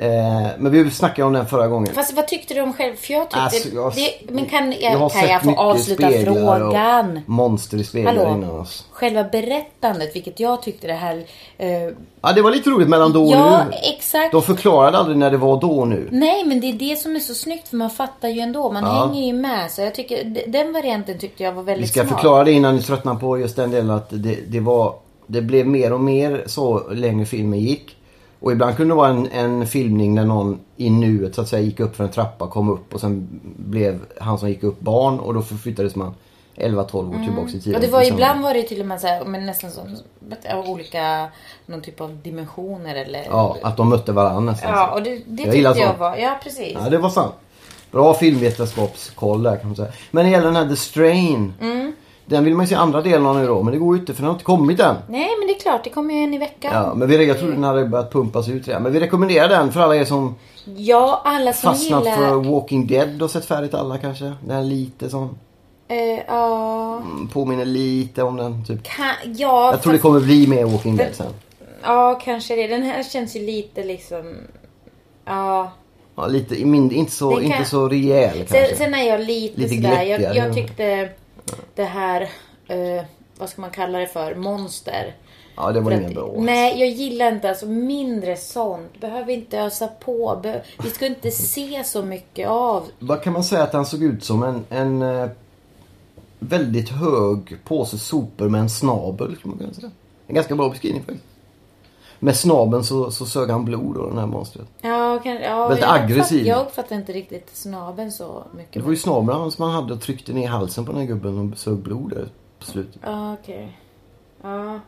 [SPEAKER 2] Eh, men vi snackade om den förra gången.
[SPEAKER 1] Fast vad tyckte du om själv? För jag tyckte...
[SPEAKER 2] Alltså, jag-
[SPEAKER 1] typ, det, men kan jag,
[SPEAKER 2] har
[SPEAKER 1] kan
[SPEAKER 2] sett
[SPEAKER 1] jag få
[SPEAKER 2] mycket
[SPEAKER 1] avsluta
[SPEAKER 2] speglar och
[SPEAKER 1] frågan?
[SPEAKER 2] Monster i speglar
[SPEAKER 1] Hallå?
[SPEAKER 2] innan oss.
[SPEAKER 1] Själva berättandet, vilket jag tyckte det här... Eh,
[SPEAKER 2] Ja det var lite roligt mellan då och
[SPEAKER 1] ja,
[SPEAKER 2] nu.
[SPEAKER 1] exakt.
[SPEAKER 2] De förklarade aldrig när det var då och nu.
[SPEAKER 1] Nej, men det är det som är så snyggt för man fattar ju ändå. Man
[SPEAKER 2] Ja.
[SPEAKER 1] hänger ju med. Så jag tycker, d- den varianten tyckte jag var
[SPEAKER 2] Vi
[SPEAKER 1] väldigt
[SPEAKER 2] ska
[SPEAKER 1] smart.
[SPEAKER 2] förklara det innan ni tröttnar på just den delen att det, det var Det blev mer och mer så längre filmen gick. Och ibland kunde det vara en, en filmning där någon i nuet så att säga gick upp för en trappa, kom upp och sen blev han som gick upp barn och då förflyttades man 11-12 år tillbaks i tiden.
[SPEAKER 1] Och Mm. det var
[SPEAKER 2] till samma-
[SPEAKER 1] ibland var det till och med så här, men nästan som av olika, någon typ av dimensioner eller...
[SPEAKER 2] Ja, att de mötte varandra nästan.
[SPEAKER 1] Ja, och det, det
[SPEAKER 2] Jag
[SPEAKER 1] tyckte
[SPEAKER 2] gillar
[SPEAKER 1] jag
[SPEAKER 2] sånt.
[SPEAKER 1] var... Ja, precis.
[SPEAKER 2] Ja, det var sant. Bra filmvetenskapskoll där kan man säga. Men när det gäller den här The Strain.
[SPEAKER 1] Mm.
[SPEAKER 2] Den vill man ju se andra delen av nu då, men det går ju inte för den har inte kommit än.
[SPEAKER 1] Nej, men det är klart, det kommer ju en i veckan.
[SPEAKER 2] Ja, men vi, jag trodde den hade börjat pumpas ut redan. Men vi rekommenderar den för alla er som
[SPEAKER 1] Ja, alla som
[SPEAKER 2] fastnat
[SPEAKER 1] gillar...
[SPEAKER 2] för Walking Dead och sett färdigt alla kanske. Den är lite som
[SPEAKER 1] Eh, ja,
[SPEAKER 2] mm, påminner lite om den typ.
[SPEAKER 1] kan, ja,
[SPEAKER 2] Jag tror det
[SPEAKER 1] fast-
[SPEAKER 2] kommer bli med Walking Dead sen.
[SPEAKER 1] ja, kanske det. Den här känns ju lite liksom... Ja.
[SPEAKER 2] Ja, lite, i min- inte, så,
[SPEAKER 1] Den kan-
[SPEAKER 2] inte så rejäl kanske.
[SPEAKER 1] Sen, sen är jag lite,
[SPEAKER 2] Lite
[SPEAKER 1] sådär. Jag,
[SPEAKER 2] glättigare.
[SPEAKER 1] jag tyckte det här... eh, vad ska man kalla det för? Monster.
[SPEAKER 2] ja, det var
[SPEAKER 1] För
[SPEAKER 2] ingen
[SPEAKER 1] att-
[SPEAKER 2] bra.
[SPEAKER 1] Nej, jag gillar inte alltså mindre sånt. Behöver inte ösa på. Be- vi ska inte se så mycket av.
[SPEAKER 2] Vad kan man säga att han såg ut som? En, en eh, väldigt hög påse sopor med en snabel kan man kunna säga. En ganska bra beskrivning faktiskt. Med snabeln så, så sög han blod då, den här monstret.
[SPEAKER 1] Ja, kan, ja,
[SPEAKER 2] Väldigt
[SPEAKER 1] jag uppfatt-
[SPEAKER 2] aggressiv.
[SPEAKER 1] Jag uppfattar inte riktigt snabeln så
[SPEAKER 2] Det
[SPEAKER 1] mycket.
[SPEAKER 2] var ju snablarna som han hade och tryckte ner halsen på den här gubben och sög blod där på slutet.
[SPEAKER 1] Ja, okej. Ja.
[SPEAKER 2] Men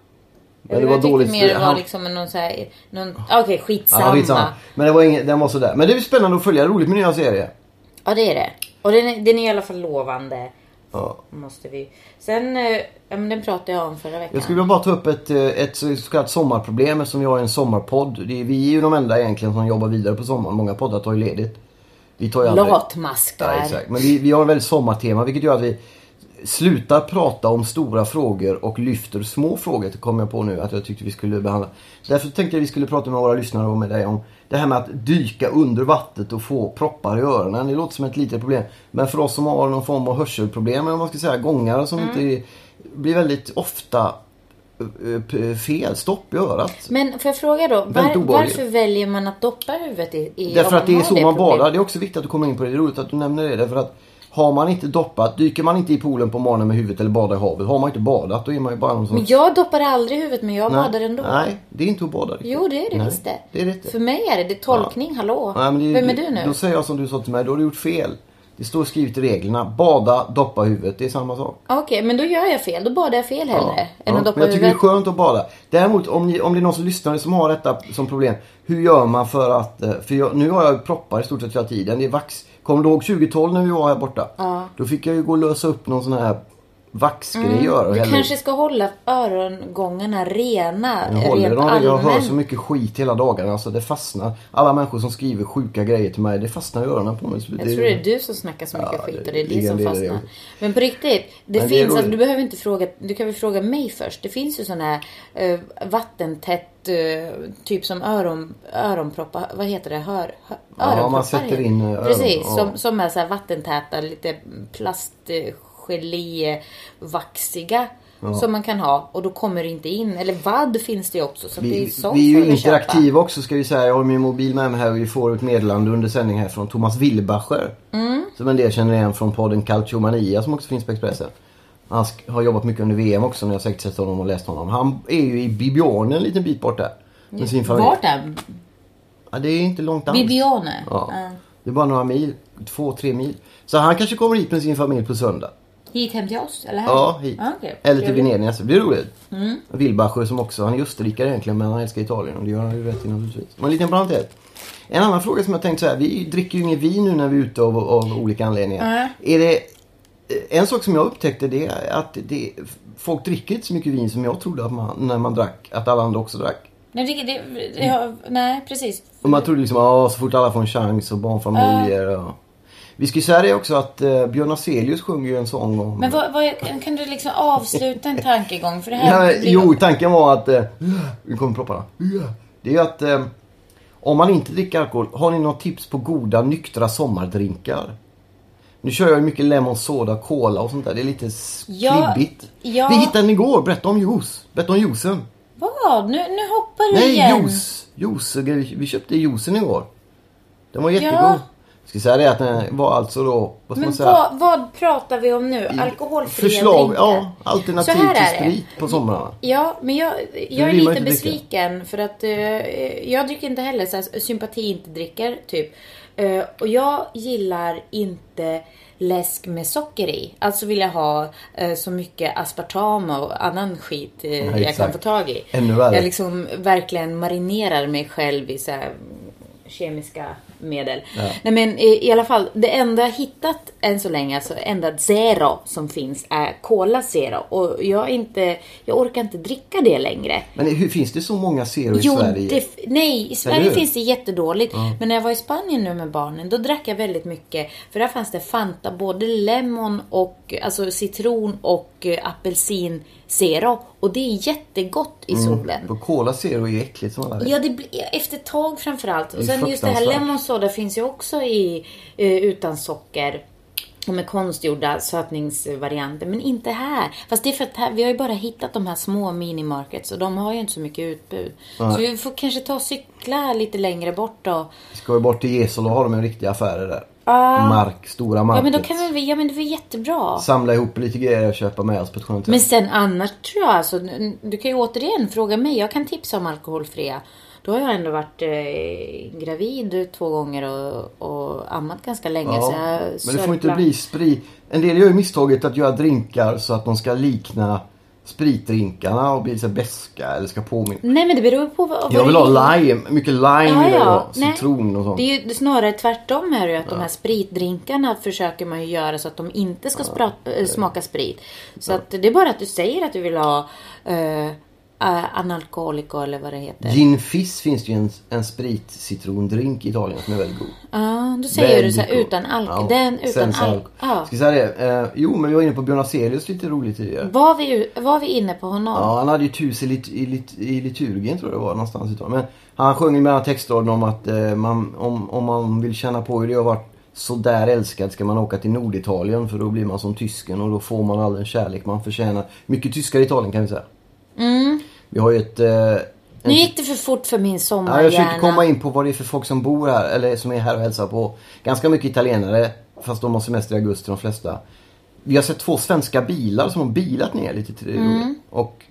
[SPEAKER 2] det
[SPEAKER 1] jag
[SPEAKER 2] var
[SPEAKER 1] tyckte
[SPEAKER 2] dåligt.
[SPEAKER 1] mer det var
[SPEAKER 2] Han-
[SPEAKER 1] liksom någon så här, någon, okej skitsamma.
[SPEAKER 2] Ja, skitsamma. Men det var ingen, den var sådär. Men det är ju spännande att följa. Roligt med nya serier.
[SPEAKER 1] Ja, det är det. Och den, är- den är i alla fall lovande.
[SPEAKER 2] Ja.
[SPEAKER 1] Måste vi. Sen, eh, ja men den pratade jag om förra veckan.
[SPEAKER 2] Jag skulle vilja bara ta upp ett, eh, ett så kallat sommarproblem eftersom vi har en sommarpodd. Det är, vi är ju de enda egentligen som jobbar vidare på sommaren. Många poddar tar ju ledigt. Vi tar ju aldrig...
[SPEAKER 1] Latmask
[SPEAKER 2] Ja,
[SPEAKER 1] där.
[SPEAKER 2] exakt. Men vi, vi har väldigt sommartema vilket gör att vi Sluta prata om stora frågor och lyfter små frågor. Det kom jag på nu att jag tyckte vi skulle behandla. Därför tänkte jag vi skulle prata med våra lyssnare och med dig om det här med att dyka under vattnet och få proppar i öronen. Det låter som ett litet problem. Men för oss som har någon form av hörselproblem eller vad man ska säga, gångare som inte blir väldigt ofta eh, p- fel, stopp i örat.
[SPEAKER 1] Men får jag fråga då,
[SPEAKER 2] Väldigt
[SPEAKER 1] var,
[SPEAKER 2] obehagligt.
[SPEAKER 1] varför väljer man att doppa huvudet i, i om
[SPEAKER 2] Därför att det är
[SPEAKER 1] har
[SPEAKER 2] så man
[SPEAKER 1] problemet?
[SPEAKER 2] badar. Det är också viktigt att du kommer in på det. Det är roligt att du nämner det. Därför att har man inte doppat, dyker man inte i poolen på morgonen med huvudet eller badar i havet. Har man inte badat då är man ju bara någon som...
[SPEAKER 1] Men jag doppar aldrig huvudet men jag
[SPEAKER 2] Nej,
[SPEAKER 1] badar ändå.
[SPEAKER 2] Nej, det är inte att bada riktigt.
[SPEAKER 1] Jo det är det
[SPEAKER 2] Nej,
[SPEAKER 1] visst det.
[SPEAKER 2] Det är det inte.
[SPEAKER 1] För mig är det, det är tolkning, hallå.
[SPEAKER 2] Nej, men det,
[SPEAKER 1] Vem är du nu?
[SPEAKER 2] Då säger jag som du sa till mig, då har du gjort fel. Det står skrivet i reglerna, bada, doppa huvudet. Det är samma sak.
[SPEAKER 1] Okej, men då gör jag fel. Då badar jag fel hellre.
[SPEAKER 2] Ja,
[SPEAKER 1] än
[SPEAKER 2] ja.
[SPEAKER 1] att doppa
[SPEAKER 2] Men jag tycker det är
[SPEAKER 1] huvudet.
[SPEAKER 2] skönt att bada. Däremot om, ni, om det är någon som lyssnar som har detta som problem. Hur gör man för att... eh, För jag, nu har jag proppar i stort sett hela tiden. Det är vax. Kommer du ihåg 2012 när vi var här borta?
[SPEAKER 1] Ja.
[SPEAKER 2] Då fick jag ju gå och lösa upp någon sån här vaxgrej i öronen.
[SPEAKER 1] Du
[SPEAKER 2] Eller-
[SPEAKER 1] kanske ska hålla örongångarna rena.
[SPEAKER 2] jag håller
[SPEAKER 1] rent
[SPEAKER 2] dem. Jag hör
[SPEAKER 1] allmänt.
[SPEAKER 2] så mycket skit hela dagarna så det fastnar. Alla människor som skriver sjuka grejer till mig, det fastnar i öronen på mig. Så
[SPEAKER 1] Jag tror det är du som snackar så mycket
[SPEAKER 2] Ja,
[SPEAKER 1] skit
[SPEAKER 2] det-
[SPEAKER 1] och det är
[SPEAKER 2] det
[SPEAKER 1] det som
[SPEAKER 2] är det.
[SPEAKER 1] fastnar. Men på riktigt, det
[SPEAKER 2] Men det är
[SPEAKER 1] finns, alltså,
[SPEAKER 2] roligt.
[SPEAKER 1] du behöver inte fråga, du kan väl fråga mig först. Det finns ju sån här eh, vattentätt, eh, typ som öron, öronproppar, vad heter det? Hör, hör,
[SPEAKER 2] Ja, man sätter
[SPEAKER 1] heter det.
[SPEAKER 2] in, eh, öron-
[SPEAKER 1] Precis,
[SPEAKER 2] ja.
[SPEAKER 1] som, som är så här vattentäta, lite plastgelé-vaxiga. Som man kan ha och då kommer det inte in. Eller vadd finns det ju också. Så det är ju
[SPEAKER 2] Vi,
[SPEAKER 1] sånt
[SPEAKER 2] vi är
[SPEAKER 1] får
[SPEAKER 2] ju
[SPEAKER 1] vi köpa.
[SPEAKER 2] interaktiva också ska vi säga. Jag har min mobil med mig här och vi får ett meddelande under sändning här från Thomas Wilbacher.
[SPEAKER 1] Mm.
[SPEAKER 2] Som en del känner igen från podden Calciomania som också finns på Expressen. Han sk- har jobbat mycket under VM också när jag säkert sett honom och läst honom. Han är ju i Bibione en liten bit bort där. Med sin familj.
[SPEAKER 1] Vart är
[SPEAKER 2] Ja, det är inte långt alls.
[SPEAKER 1] Bibione?
[SPEAKER 2] Ja.
[SPEAKER 1] Ja.
[SPEAKER 2] Det är bara några mil. Två, tre mil. Så han kanske kommer hit med sin familj på söndag.
[SPEAKER 1] Hit hem till oss? Eller här?
[SPEAKER 2] Ja, hit.
[SPEAKER 1] okej.
[SPEAKER 2] Eller till Venedig nästa. Det blir roligt. Wilbacher som också, han är österrikare egentligen men han älskar Italien och det gör han ju rätt i naturligtvis. Men en liten parentes. En annan fråga som jag tänkt så här, vi dricker ju inget vin nu när vi är ute av, av olika anledningar. Är det, eh, en sak som jag upptäckte det är att det, folk dricker inte så mycket vin som jag trodde att man, när man drack, att alla andra också drack.
[SPEAKER 1] Nej, det, det, ja, nej precis.
[SPEAKER 2] Och man trodde liksom, ja så fort alla får en chans och barnfamiljer och... Vi ska ju säga det också att eh, Björn Afzelius sjunger ju en sång om...
[SPEAKER 1] Men vad, vad, kan du liksom avsluta en tankegång? För det här
[SPEAKER 2] Ja,
[SPEAKER 1] blir-
[SPEAKER 2] jo, tanken var att... eh, Nu kommer propparna. Det är ju att eh, om man inte dricker alkohol, har ni något tips på goda nyktra sommardrinkar? Nu kör jag ju mycket lemon soda, cola och sånt där. Det är lite s-
[SPEAKER 1] Ja,
[SPEAKER 2] klibbigt.
[SPEAKER 1] ja.
[SPEAKER 2] Vi hittade den igår, berätta om juice. Berätta om juicen.
[SPEAKER 1] Vad? Nu, nu hoppar du
[SPEAKER 2] Nej,
[SPEAKER 1] igen.
[SPEAKER 2] juice. juice. Vi vi köpte juicen igår. Den var jättegod.
[SPEAKER 1] Ja.
[SPEAKER 2] Jag ska säga det att den var alltså då, vad ska
[SPEAKER 1] Men
[SPEAKER 2] man säga?
[SPEAKER 1] vad, vad pratar vi om nu? Alkoholfria
[SPEAKER 2] Förslag,
[SPEAKER 1] drinkar?
[SPEAKER 2] ja. Alternativ
[SPEAKER 1] Så här
[SPEAKER 2] till
[SPEAKER 1] är det.
[SPEAKER 2] sprit på somrarna.
[SPEAKER 1] Ja, men jag, jag är
[SPEAKER 2] vill man
[SPEAKER 1] lite
[SPEAKER 2] inte dricka.
[SPEAKER 1] besviken för att eh, jag dricker inte heller så här, sympati inte dricker typ. Eh, och jag gillar inte läsk med socker i. Alltså vill jag ha eh, så mycket aspartam och annan skit eh, jag kan
[SPEAKER 2] exakt.
[SPEAKER 1] få tag i.
[SPEAKER 2] Ännu värre.
[SPEAKER 1] Jag liksom verkligen marinerar mig själv i så här kemiska medel. Nej men i, i alla fall, det enda jag hittat än så länge, alltså enda zero som finns är Cola Zero. Och jag, är inte, jag orkar inte dricka det längre.
[SPEAKER 2] Men hur, finns det så många seror i Sverige?
[SPEAKER 1] det f- nej, i
[SPEAKER 2] Eller
[SPEAKER 1] Sverige
[SPEAKER 2] hur?
[SPEAKER 1] finns det jättedåligt. Men när jag var i Spanien nu med barnen, då drack jag väldigt mycket. För där fanns det Fanta, både lemon och alltså citron och eh, apelsin zero. Och det är jättegott
[SPEAKER 2] Mm.
[SPEAKER 1] i solen.
[SPEAKER 2] För Cola Zero är ju äckligt som alla vet.
[SPEAKER 1] Ja, det blir efter ett tag framförallt. Och
[SPEAKER 2] Det är
[SPEAKER 1] sen just det här
[SPEAKER 2] fruktansvärt.
[SPEAKER 1] lemon soda finns ju också i, eh, utan socker. Och med konstgjorda sötningsvarianter. Men inte här. Fast det är för att här, vi har ju bara hittat de här små minimarkets och de har ju inte så mycket utbud. Så vi får kanske ta och cykla lite längre bort då.
[SPEAKER 2] Vi ska ju bort till Gesel och har de en riktig affär där.
[SPEAKER 1] Ja.
[SPEAKER 2] Mark, stora
[SPEAKER 1] Ah. Ja men
[SPEAKER 2] market.
[SPEAKER 1] då kan vi, ja men det var jättebra.
[SPEAKER 2] Samla ihop lite grejer och köpa med oss på ett skönt sätt.
[SPEAKER 1] Men sen annars tror jag alltså, du kan ju återigen fråga mig, jag kan tipsa om alkoholfria. Då har jag ändå varit eh, gravid två gånger och, och ammat ganska länge.
[SPEAKER 2] Ja,
[SPEAKER 1] Så jag
[SPEAKER 2] men det får inte
[SPEAKER 1] sörplar.
[SPEAKER 2] bli sprit. En del gör ju misstaget att göra drinkar så att de ska likna spritdrinkarna och bli så här beska eller ska påminna.
[SPEAKER 1] Nej men det beror på vad, vad
[SPEAKER 2] Jag vill
[SPEAKER 1] det är.
[SPEAKER 2] ha lime, mycket lime vill jag ha.
[SPEAKER 1] Mm. nej.
[SPEAKER 2] Citron och sånt.
[SPEAKER 1] Det är ju snarare tvärtom här ju att de här spritdrinkarna försöker man ju göra så att de inte ska sprat- äh, smaka sprit. Så att det är bara att du säger att du vill ha eh, eh, analkoliko eller vad det heter.
[SPEAKER 2] Gin fizz finns det ju en, en spritcitrondrink i Italien som är väldigt god.
[SPEAKER 1] Ja, då säger du så här
[SPEAKER 2] Väldigt god.
[SPEAKER 1] utan alkohol.
[SPEAKER 2] Ja,
[SPEAKER 1] Den utan
[SPEAKER 2] sensa
[SPEAKER 1] alkohol. Ja.
[SPEAKER 2] Ska vi säga det? Eh, jo, men vi var inne på Björn Afzelius lite roligt tidigare.
[SPEAKER 1] Var, vi, ju- var vi inne på honom?
[SPEAKER 2] Ja, han hade ju ett hus i, lit, i, lit, i liturgin tror jag det var någonstans i Italien. Men han sjöng ju mellan textraderna om att eh, man, om, om man vill känna på hur det har varit sådär älskad ska man åka till Norditalien för då blir man som tysken och då får man all den kärlek man förtjänar. Mycket tyskar i Italien kan vi säga.
[SPEAKER 1] Mm.
[SPEAKER 2] Vi har ju ett... Eh,
[SPEAKER 1] Nu gick det för fort för min
[SPEAKER 2] ja, jag försöker
[SPEAKER 1] sommarhjärna.
[SPEAKER 2] komma in på vad det är för folk som bor här eller som är här och hälsar på. Ganska mycket italienare fast de har semester i augusti de flesta. Vi har sett två svenska bilar som har bilat ner lite till det
[SPEAKER 1] Mm.
[SPEAKER 2] Och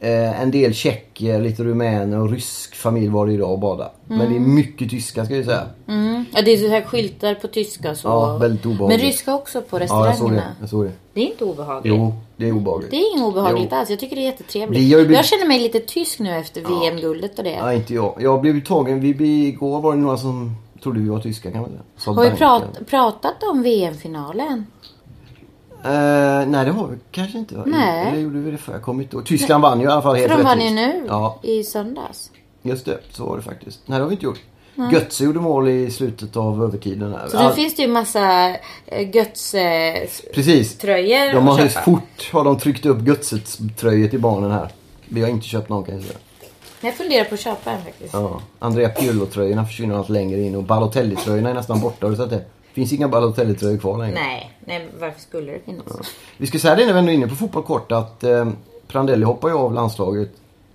[SPEAKER 2] Eh, en del tjecker, lite rumäner och rysk familj var det idag och bada. Men det är mycket tyskar ska jag säga.
[SPEAKER 1] Mm. Ja, det är så här skyltar på tyska och så.
[SPEAKER 2] Ja, väldigt obehagligt.
[SPEAKER 1] Men ryska också på
[SPEAKER 2] Ja, jag såg
[SPEAKER 1] restaurangerna.
[SPEAKER 2] det. Jag såg det.
[SPEAKER 1] det. är inte obehagligt.
[SPEAKER 2] Jo, det är obehagligt.
[SPEAKER 1] Det är inget obehagligt
[SPEAKER 2] Jo.
[SPEAKER 1] alls. Jag tycker det är jättetrevligt.
[SPEAKER 2] Vi har ju blivit-
[SPEAKER 1] Jag känner mig lite tysk nu efter VM-guldet och det.
[SPEAKER 2] Nej, inte jag. Jag blev ju tagen. Vi, vi, igår var det några som trodde vi var tyskar kan man säga. Sa
[SPEAKER 1] Har vi
[SPEAKER 2] Danken.
[SPEAKER 1] prat, pratat om VM-finalen?
[SPEAKER 2] Eh, nej, det har vi kanske inte. va?
[SPEAKER 1] Nej.
[SPEAKER 2] Eller gjorde vi det för? Jag kommer inte ihåg. Tyskland vann ju i alla fall
[SPEAKER 1] För
[SPEAKER 2] helt
[SPEAKER 1] de vann ju
[SPEAKER 2] rättvist.
[SPEAKER 1] nu
[SPEAKER 2] Ja,
[SPEAKER 1] i söndags.
[SPEAKER 2] just det. Så var det faktiskt. Nej, det har vi inte gjort. Götze gjorde mål i slutet av övertiden. Här.
[SPEAKER 1] Så nu
[SPEAKER 2] All-
[SPEAKER 1] finns det ju massa eh, Götz... eh, s-
[SPEAKER 2] Precis.
[SPEAKER 1] tröjor
[SPEAKER 2] De har
[SPEAKER 1] att
[SPEAKER 2] ju
[SPEAKER 1] köpa.
[SPEAKER 2] fort har de tryckt upp Götzes tröjor till barnen här. Vi har inte köpt någon kan jag säga.
[SPEAKER 1] Jag funderar på att köpa en faktiskt.
[SPEAKER 2] Ja. Andrea Pirlo-tröjorna försvinner allt längre in och Balotelli-tröjorna är nästan borta. Har du sett det? Finns inga Balotelli-tröjor kvar längre.
[SPEAKER 1] Nej, nej, men varför skulle det finnas?
[SPEAKER 2] Vi ska säga det när vi ändå är inne på fotboll kort att eh, Prandelli hoppar ju av landslaget.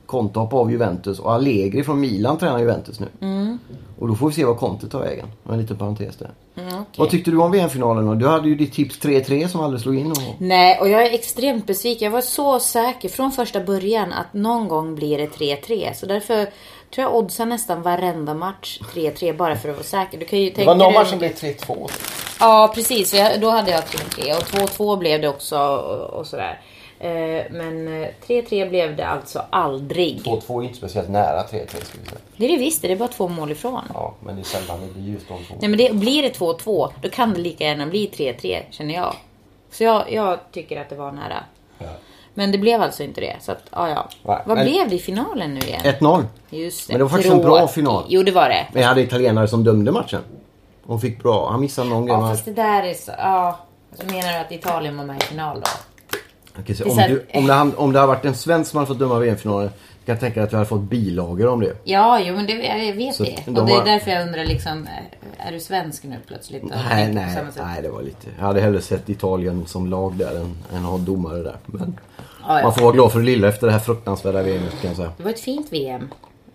[SPEAKER 2] Conte hoppar av Juventus och Allegri från Milan tränar Juventus nu. Och då får vi se vad Conte tar vägen. Det var En liten parentes där.
[SPEAKER 1] Mm, okej.
[SPEAKER 2] Vad tyckte du om VM-finalen då? Du hade ju ditt tips 3-3 som aldrig slog in. Och...
[SPEAKER 1] Nej, och jag är extremt besviken. Jag var så säker från första början att någon gång blir det 3-3. Så därför tror jag oddsar nästan varenda match 3-3 bara för att vara säker. Du kan ju tänka dig-
[SPEAKER 2] 3-2.
[SPEAKER 1] Ja, precis. Så jag, då hade jag 3-3 och 2-2 blev det också och, och sådär. Eh, Men eh, 3-3 blev det alltså aldrig.
[SPEAKER 2] 2-2 är inte speciellt nära 3-3 ska vi säga.
[SPEAKER 1] Det är det visst, det är bara två mål ifrån.
[SPEAKER 2] Ja, men det är sällan det blir just de två.
[SPEAKER 1] Nej, men det, blir det 2-2, då kan det lika gärna bli 3-3, känner jag. Så jag, jag tycker att det var nära. Men det blev alltså inte det. Så att, ja, ja.
[SPEAKER 2] Nej,
[SPEAKER 1] Vad
[SPEAKER 2] men-
[SPEAKER 1] blev det i finalen nu igen?
[SPEAKER 2] 1-0.
[SPEAKER 1] Just
[SPEAKER 2] Men det var faktiskt en bra
[SPEAKER 1] Tråkigt.
[SPEAKER 2] final.
[SPEAKER 1] Jo, det var det.
[SPEAKER 2] Men jag hade italienare som dömde matchen. Hon fick bra. Han missade någon grej.
[SPEAKER 1] Ja,
[SPEAKER 2] men-
[SPEAKER 1] fast det där är så... Ja. Så menar du att Italien var med i final då?
[SPEAKER 2] Jag kan säga,
[SPEAKER 1] Det är
[SPEAKER 2] om,
[SPEAKER 1] så här-
[SPEAKER 2] du, om, det, hand- om det hade varit en svensk som hade fått döma VM-finalen kan jag tänka dig att vi hade fått bilagor om det.
[SPEAKER 1] Ja, jo, men det, jag vet
[SPEAKER 2] Så
[SPEAKER 1] det.
[SPEAKER 2] de
[SPEAKER 1] Och det är
[SPEAKER 2] var-
[SPEAKER 1] därför jag undrar liksom, är du svensk nu plötsligt?
[SPEAKER 2] Nej,
[SPEAKER 1] På
[SPEAKER 2] nej,
[SPEAKER 1] samma sätt.
[SPEAKER 2] nej, det var lite. Jag hade hellre sett Italien som lag där än, än att ha domare där. Men
[SPEAKER 1] Ja, ja.
[SPEAKER 2] man får vara glad för det lilla efter det här fruktansvärda VMet kan jag säga.
[SPEAKER 1] Det var ett fint VM.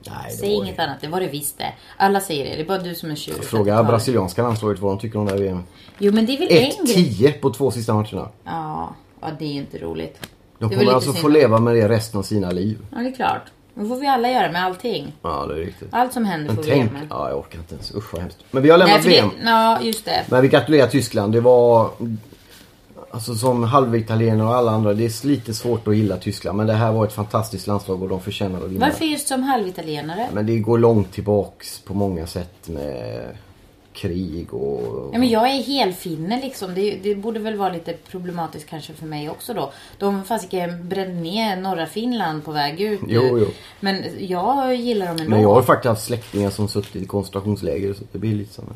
[SPEAKER 2] Nej,
[SPEAKER 1] Säg
[SPEAKER 2] det var...
[SPEAKER 1] inget annat, det var det visst det. Alla säger det, det är bara du som är tjur.
[SPEAKER 2] Fråga
[SPEAKER 1] Italien.
[SPEAKER 2] brasilianska landslaget vad de tycker om det här VM.
[SPEAKER 1] Jo, men det är väl en grej.
[SPEAKER 2] 1-10 på två sista matcherna.
[SPEAKER 1] Ja, ja det är ju inte roligt.
[SPEAKER 2] De
[SPEAKER 1] det är väl
[SPEAKER 2] kommer
[SPEAKER 1] lite
[SPEAKER 2] alltså få
[SPEAKER 1] synd.
[SPEAKER 2] leva med det resten av sina liv.
[SPEAKER 1] Ja, det är klart. Det får vi alla göra med allting.
[SPEAKER 2] Ja, det är riktigt.
[SPEAKER 1] Allt som händer
[SPEAKER 2] Men
[SPEAKER 1] får vi
[SPEAKER 2] tänk...
[SPEAKER 1] göra med.
[SPEAKER 2] Ja, jag orkar inte ens. Usch vad hemskt. Men vi har
[SPEAKER 1] Nej,
[SPEAKER 2] lämnat
[SPEAKER 1] för det,
[SPEAKER 2] VM.
[SPEAKER 1] ja, just det.
[SPEAKER 2] Men vi gratulerar Tyskland. Det var... Alltså som halvitalienare och alla andra. Det är lite svårt att gilla Tyskland. Men det här var ett fantastiskt landslag och de förtjänar att vinna.
[SPEAKER 1] Varför just som halvitalienare?
[SPEAKER 2] Men det går långt tillbaks på många sätt med krig och...
[SPEAKER 1] Ja, men jag är helfinne liksom. Det, det borde väl vara lite problematiskt kanske för mig också då. De fasiken brände ner norra Finland på väg ut nu.
[SPEAKER 2] Jo, jo.
[SPEAKER 1] Men jag gillar dem ändå.
[SPEAKER 2] Men jag har faktiskt haft släktingar som suttit i koncentrationsläger så det blir lite samma.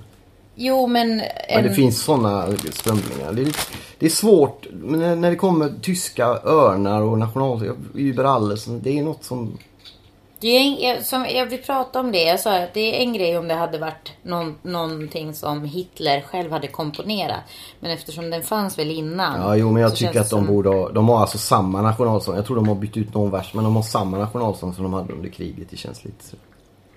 [SPEAKER 1] Jo, men...
[SPEAKER 2] Men det
[SPEAKER 1] en-
[SPEAKER 2] finns sådana strömningar. Det är, det är svårt men när- när det kommer tyska örnar och national... Über alles. Det är något som...
[SPEAKER 1] Det är en, jag- som, jag vill prata om det. Jag sa att det är en grej om det hade varit någon, någonting som Hitler själv hade komponerat. Men eftersom den fanns väl innan.
[SPEAKER 2] Ja, jo, men jag
[SPEAKER 1] så
[SPEAKER 2] tycker
[SPEAKER 1] känns
[SPEAKER 2] att
[SPEAKER 1] det
[SPEAKER 2] de
[SPEAKER 1] som-
[SPEAKER 2] borde ha, De har alltså samma nationalsång. Jag tror de har bytt ut någon vers, men de har samma nationalsång som de hade under kriget. Det känns lite så.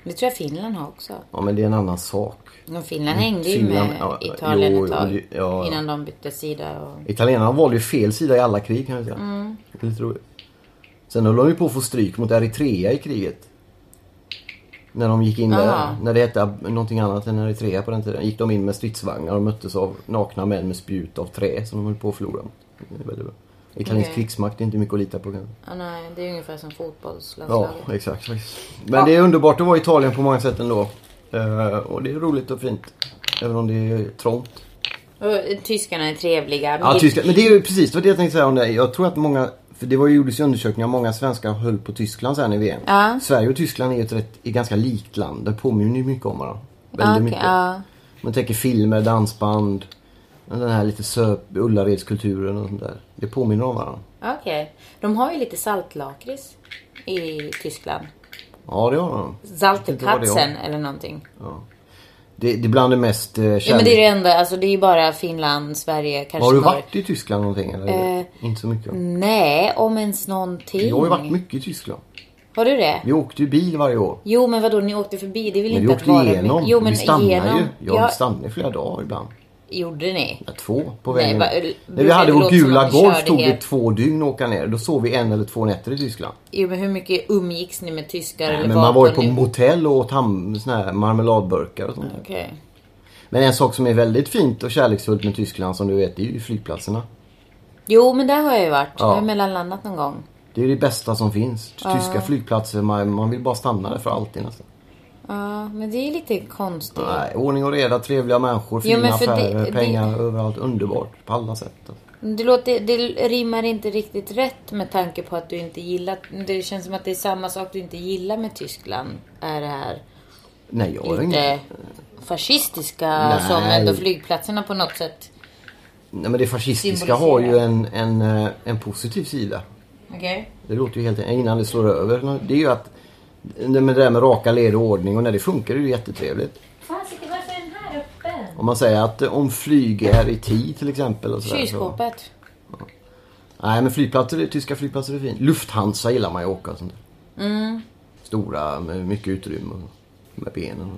[SPEAKER 1] Det tror jag Finland har också.
[SPEAKER 2] Ja, men det är en annan sak.
[SPEAKER 1] Men Finland hängde ju
[SPEAKER 2] Mm, Finland-
[SPEAKER 1] med
[SPEAKER 2] ja,
[SPEAKER 1] Italien
[SPEAKER 2] jo,
[SPEAKER 1] ett tag.
[SPEAKER 2] jo, det- ja.
[SPEAKER 1] Innan de bytte sida. Och...
[SPEAKER 2] Italienarna valde ju fel sida i alla krig kan jag säga.
[SPEAKER 1] Mm.
[SPEAKER 2] Det är lite roligt. Sen höll de ju på att få stryk mot Eritrea i kriget. När de gick in
[SPEAKER 1] Aha.
[SPEAKER 2] där, när det hette ab- någonting annat än Eritrea på den tiden, gick de in med stridsvagnar och möttes av nakna män med spjut av trä som de höll på att förlora. Det är väldigt bra. Italiensk
[SPEAKER 1] Okej.
[SPEAKER 2] krigsmakt är inte mycket att lita på kanske.
[SPEAKER 1] Ja, nej, det är ungefär som
[SPEAKER 2] Ja,
[SPEAKER 1] fotbollslandslaget.
[SPEAKER 2] exakt. faktiskt. Men det är underbart att vara i Italien på många sätt ändå. Eh, och det är roligt och fint. Även om det är trångt.
[SPEAKER 1] Och, eh, Tyskarna är trevliga.
[SPEAKER 2] Ja,
[SPEAKER 1] men-
[SPEAKER 2] tyska. Men det är ju precis vad jag tänkte säga om det. Jag tror att många För det var ju, gjordes ju undersökningar, många svenskar höll på Tyskland sen i VM.
[SPEAKER 1] Ja.
[SPEAKER 2] Sverige och Tyskland är ju ett rätt, är ganska likt land. Det påminner ju mycket om varandra. Väldigt
[SPEAKER 1] okej,
[SPEAKER 2] mycket.
[SPEAKER 1] ja.
[SPEAKER 2] Man tänker filmer, dansband. Den här lite söp, Ullaredskulturen och sånt där. Det påminner om varandra.
[SPEAKER 1] Okej. De har ju lite saltlakrits i Tyskland.
[SPEAKER 2] Ja, det har de. inte vad det är.
[SPEAKER 1] Salterkatzen eller någonting.
[SPEAKER 2] Det, det är bland det mest eh,
[SPEAKER 1] Ja, men det är
[SPEAKER 2] kärlek-
[SPEAKER 1] det enda. Alltså det är ju bara Finland, Sverige, kanske
[SPEAKER 2] Har du
[SPEAKER 1] Norge.
[SPEAKER 2] varit i Tyskland någonting eller?
[SPEAKER 1] Eh,
[SPEAKER 2] inte så mycket?
[SPEAKER 1] Nej, om ens någonting.
[SPEAKER 2] Jag har ju varit mycket i Tyskland.
[SPEAKER 1] Har du det?
[SPEAKER 2] Vi åkte ju bil varje år.
[SPEAKER 1] Jo, men vadå, ni åkte förbi? Det är väl
[SPEAKER 2] Men vi
[SPEAKER 1] inte att
[SPEAKER 2] åkte
[SPEAKER 1] vara...
[SPEAKER 2] igenom.
[SPEAKER 1] Jo, men
[SPEAKER 2] vi stannade
[SPEAKER 1] igenom.
[SPEAKER 2] ju. Jag
[SPEAKER 1] Ja,
[SPEAKER 2] stannade i flera dagar ibland.
[SPEAKER 1] Gjorde ni?
[SPEAKER 2] Ja, två på
[SPEAKER 1] Nej,
[SPEAKER 2] vägen.
[SPEAKER 1] bara-
[SPEAKER 2] Nej, När vi
[SPEAKER 1] det
[SPEAKER 2] hade vår
[SPEAKER 1] låter som
[SPEAKER 2] gula
[SPEAKER 1] att ni
[SPEAKER 2] golf
[SPEAKER 1] körde
[SPEAKER 2] stod det
[SPEAKER 1] helt-
[SPEAKER 2] två dygn att åka ner. Då sov vi en eller två nätter i Tyskland.
[SPEAKER 1] Jo, men hur mycket umgicks ni med tyskar eller
[SPEAKER 2] Men man var ju på
[SPEAKER 1] ni-
[SPEAKER 2] motell och åt ham, såna här marmeladburkar och sånt där.
[SPEAKER 1] Okej.
[SPEAKER 2] Men en sak som är väldigt fint och kärleksfullt med Tyskland som du vet, det är ju flygplatserna.
[SPEAKER 1] Jo, men där har jag ju varit.
[SPEAKER 2] Ja.
[SPEAKER 1] Jag har ju mellanlandat någon gång.
[SPEAKER 2] Det är det bästa som finns. Tyska flygplatser, man, man vill bara stanna där för alltid nästan.
[SPEAKER 1] Ja, men det är lite konstigt.
[SPEAKER 2] Nej, ordning och reda, trevliga människor,
[SPEAKER 1] Jo,
[SPEAKER 2] fina
[SPEAKER 1] men för det-
[SPEAKER 2] affärer,
[SPEAKER 1] det-
[SPEAKER 2] pengar överallt. Underbart på alla sätt.
[SPEAKER 1] Det, låter, det rimmar inte riktigt rätt med tanke på att du inte gillar... Det känns som att det är samma sak du inte gillar med Tyskland. Är det här
[SPEAKER 2] Nej, jag har
[SPEAKER 1] lite
[SPEAKER 2] inget.
[SPEAKER 1] fascistiska
[SPEAKER 2] Nej.
[SPEAKER 1] som ändå flygplatserna på något sätt...
[SPEAKER 2] Nej, men det fascistiska
[SPEAKER 1] Symboliserar.
[SPEAKER 2] har ju en, en, eh, en positiv sida.
[SPEAKER 1] Okej?
[SPEAKER 2] Det låter ju helt innan det slår över. Det är ju att det med det där med raka led och ordning och när det funkar är det ju jättetrevligt.
[SPEAKER 1] Fasiken, varför är den här öppen?
[SPEAKER 2] Om man säger att eh, om flyg är i tid till exempel. Och sådär, så,
[SPEAKER 1] Kylskåpet.
[SPEAKER 2] nej men flygplatser, tyska flygplatser är fint. Lufthansa gillar man ju att åka och sånt där. Stora med mycket utrymme och med benen.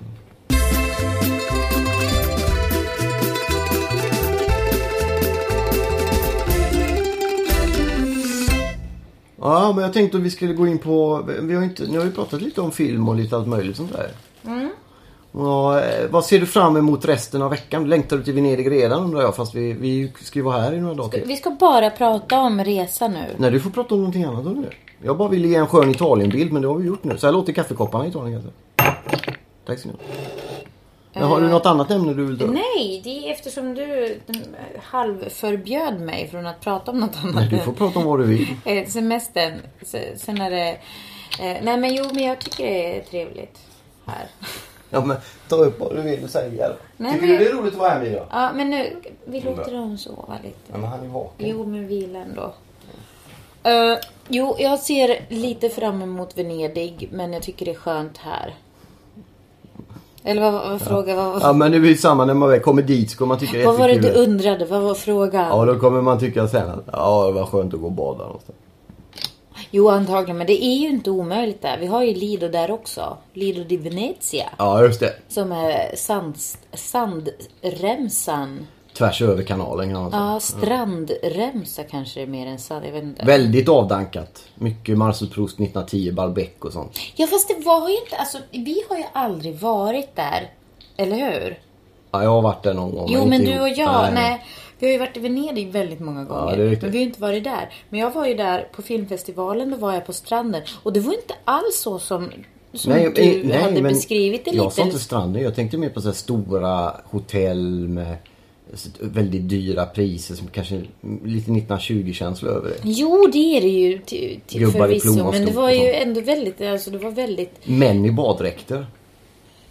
[SPEAKER 2] Ja men jag tänkte att vi skulle gå in på, vi har ju inte, nu har vi pratat lite om film och lite allt möjligt sånt där. Ja, eh, vad ser du fram emot resten av veckan? Längtar du till Venedig redan undrar jag fast vi, vi ska ju vara här i några dagar till.
[SPEAKER 1] Vi ska bara prata om resa nu.
[SPEAKER 2] Nej, du får prata om någonting annat om det. Jag bara ville ge en skön Italienbild, men det har vi gjort nu. Så här låter kaffekopparna i Italien kanske. Tack så mycket. Men har du något annat ämne du vill ta upp?
[SPEAKER 1] Eh, Nej, det är eftersom du eh, halvförbjöd mig från att prata om något annat.
[SPEAKER 2] Du får prata om vad du vill.
[SPEAKER 1] Eh, Semestern. se- Sen är det... eh, Nej men jo, men jag tycker det är trevligt här.
[SPEAKER 2] Ja, men ta upp vad du vill och säga.
[SPEAKER 1] Nej,
[SPEAKER 2] Tycker
[SPEAKER 1] men-
[SPEAKER 2] du det är roligt att vara här med idag?
[SPEAKER 1] Ja, men nu... Vi låter dem sova lite.
[SPEAKER 2] Ja, men han är vaken.
[SPEAKER 1] Jo, men vila ändå. Eh, jo, jag ser lite fram emot Venedig, men jag tycker det är skönt här. Eller vad, vad fråga, vad,
[SPEAKER 2] Ja, men det blir samma när man väl kommer dit så kommer man tycka det är
[SPEAKER 1] vad var det du
[SPEAKER 2] jättekul.
[SPEAKER 1] undrade? Vad var frågan?
[SPEAKER 2] Ja, då kommer man tycka sen att ja, det var skönt att gå och bada någonstans.
[SPEAKER 1] Jo, antagligen. Men det är ju inte omöjligt där. Vi har ju Lido där också. Lido di Venezia.
[SPEAKER 2] Ja, just det.
[SPEAKER 1] Som är sand, sandremsan.
[SPEAKER 2] Tvärs över kanalen kan man säga.
[SPEAKER 1] Ja, strandremsa kanske det är mer än sand. Jag vet inte.
[SPEAKER 2] Väldigt avdankat. Mycket Marcel Proust 1910, Balbec och sånt.
[SPEAKER 1] Ja, fast det var ju inte... Alltså, vi har ju aldrig varit där. Eller hur?
[SPEAKER 2] Ja, jag har varit där någon gång.
[SPEAKER 1] Jo,
[SPEAKER 2] inte
[SPEAKER 1] men du
[SPEAKER 2] ihop.
[SPEAKER 1] och jag. Nej. Vi har ju varit i Venedig väldigt många gånger.
[SPEAKER 2] det är riktigt.
[SPEAKER 1] men vi har ju inte varit där. Men jag var ju där på filmfestivalen. Då var jag på stranden. Och det var inte alls så som, som du
[SPEAKER 2] eh,
[SPEAKER 1] hade
[SPEAKER 2] men
[SPEAKER 1] beskrivit det
[SPEAKER 2] Jag
[SPEAKER 1] lite.
[SPEAKER 2] sa inte stranden. Jag tänkte mer på så här stora hotell med s- väldigt dyra priser som kanske mm, lite 1920-känsla över det.
[SPEAKER 1] Jo, det är det ju till, till
[SPEAKER 2] Gubbar i
[SPEAKER 1] förvisso. Men det
[SPEAKER 2] plommonstop
[SPEAKER 1] var
[SPEAKER 2] och
[SPEAKER 1] ju
[SPEAKER 2] sånt.
[SPEAKER 1] ändå väldigt, alltså det var väldigt...
[SPEAKER 2] Män i baddräkter.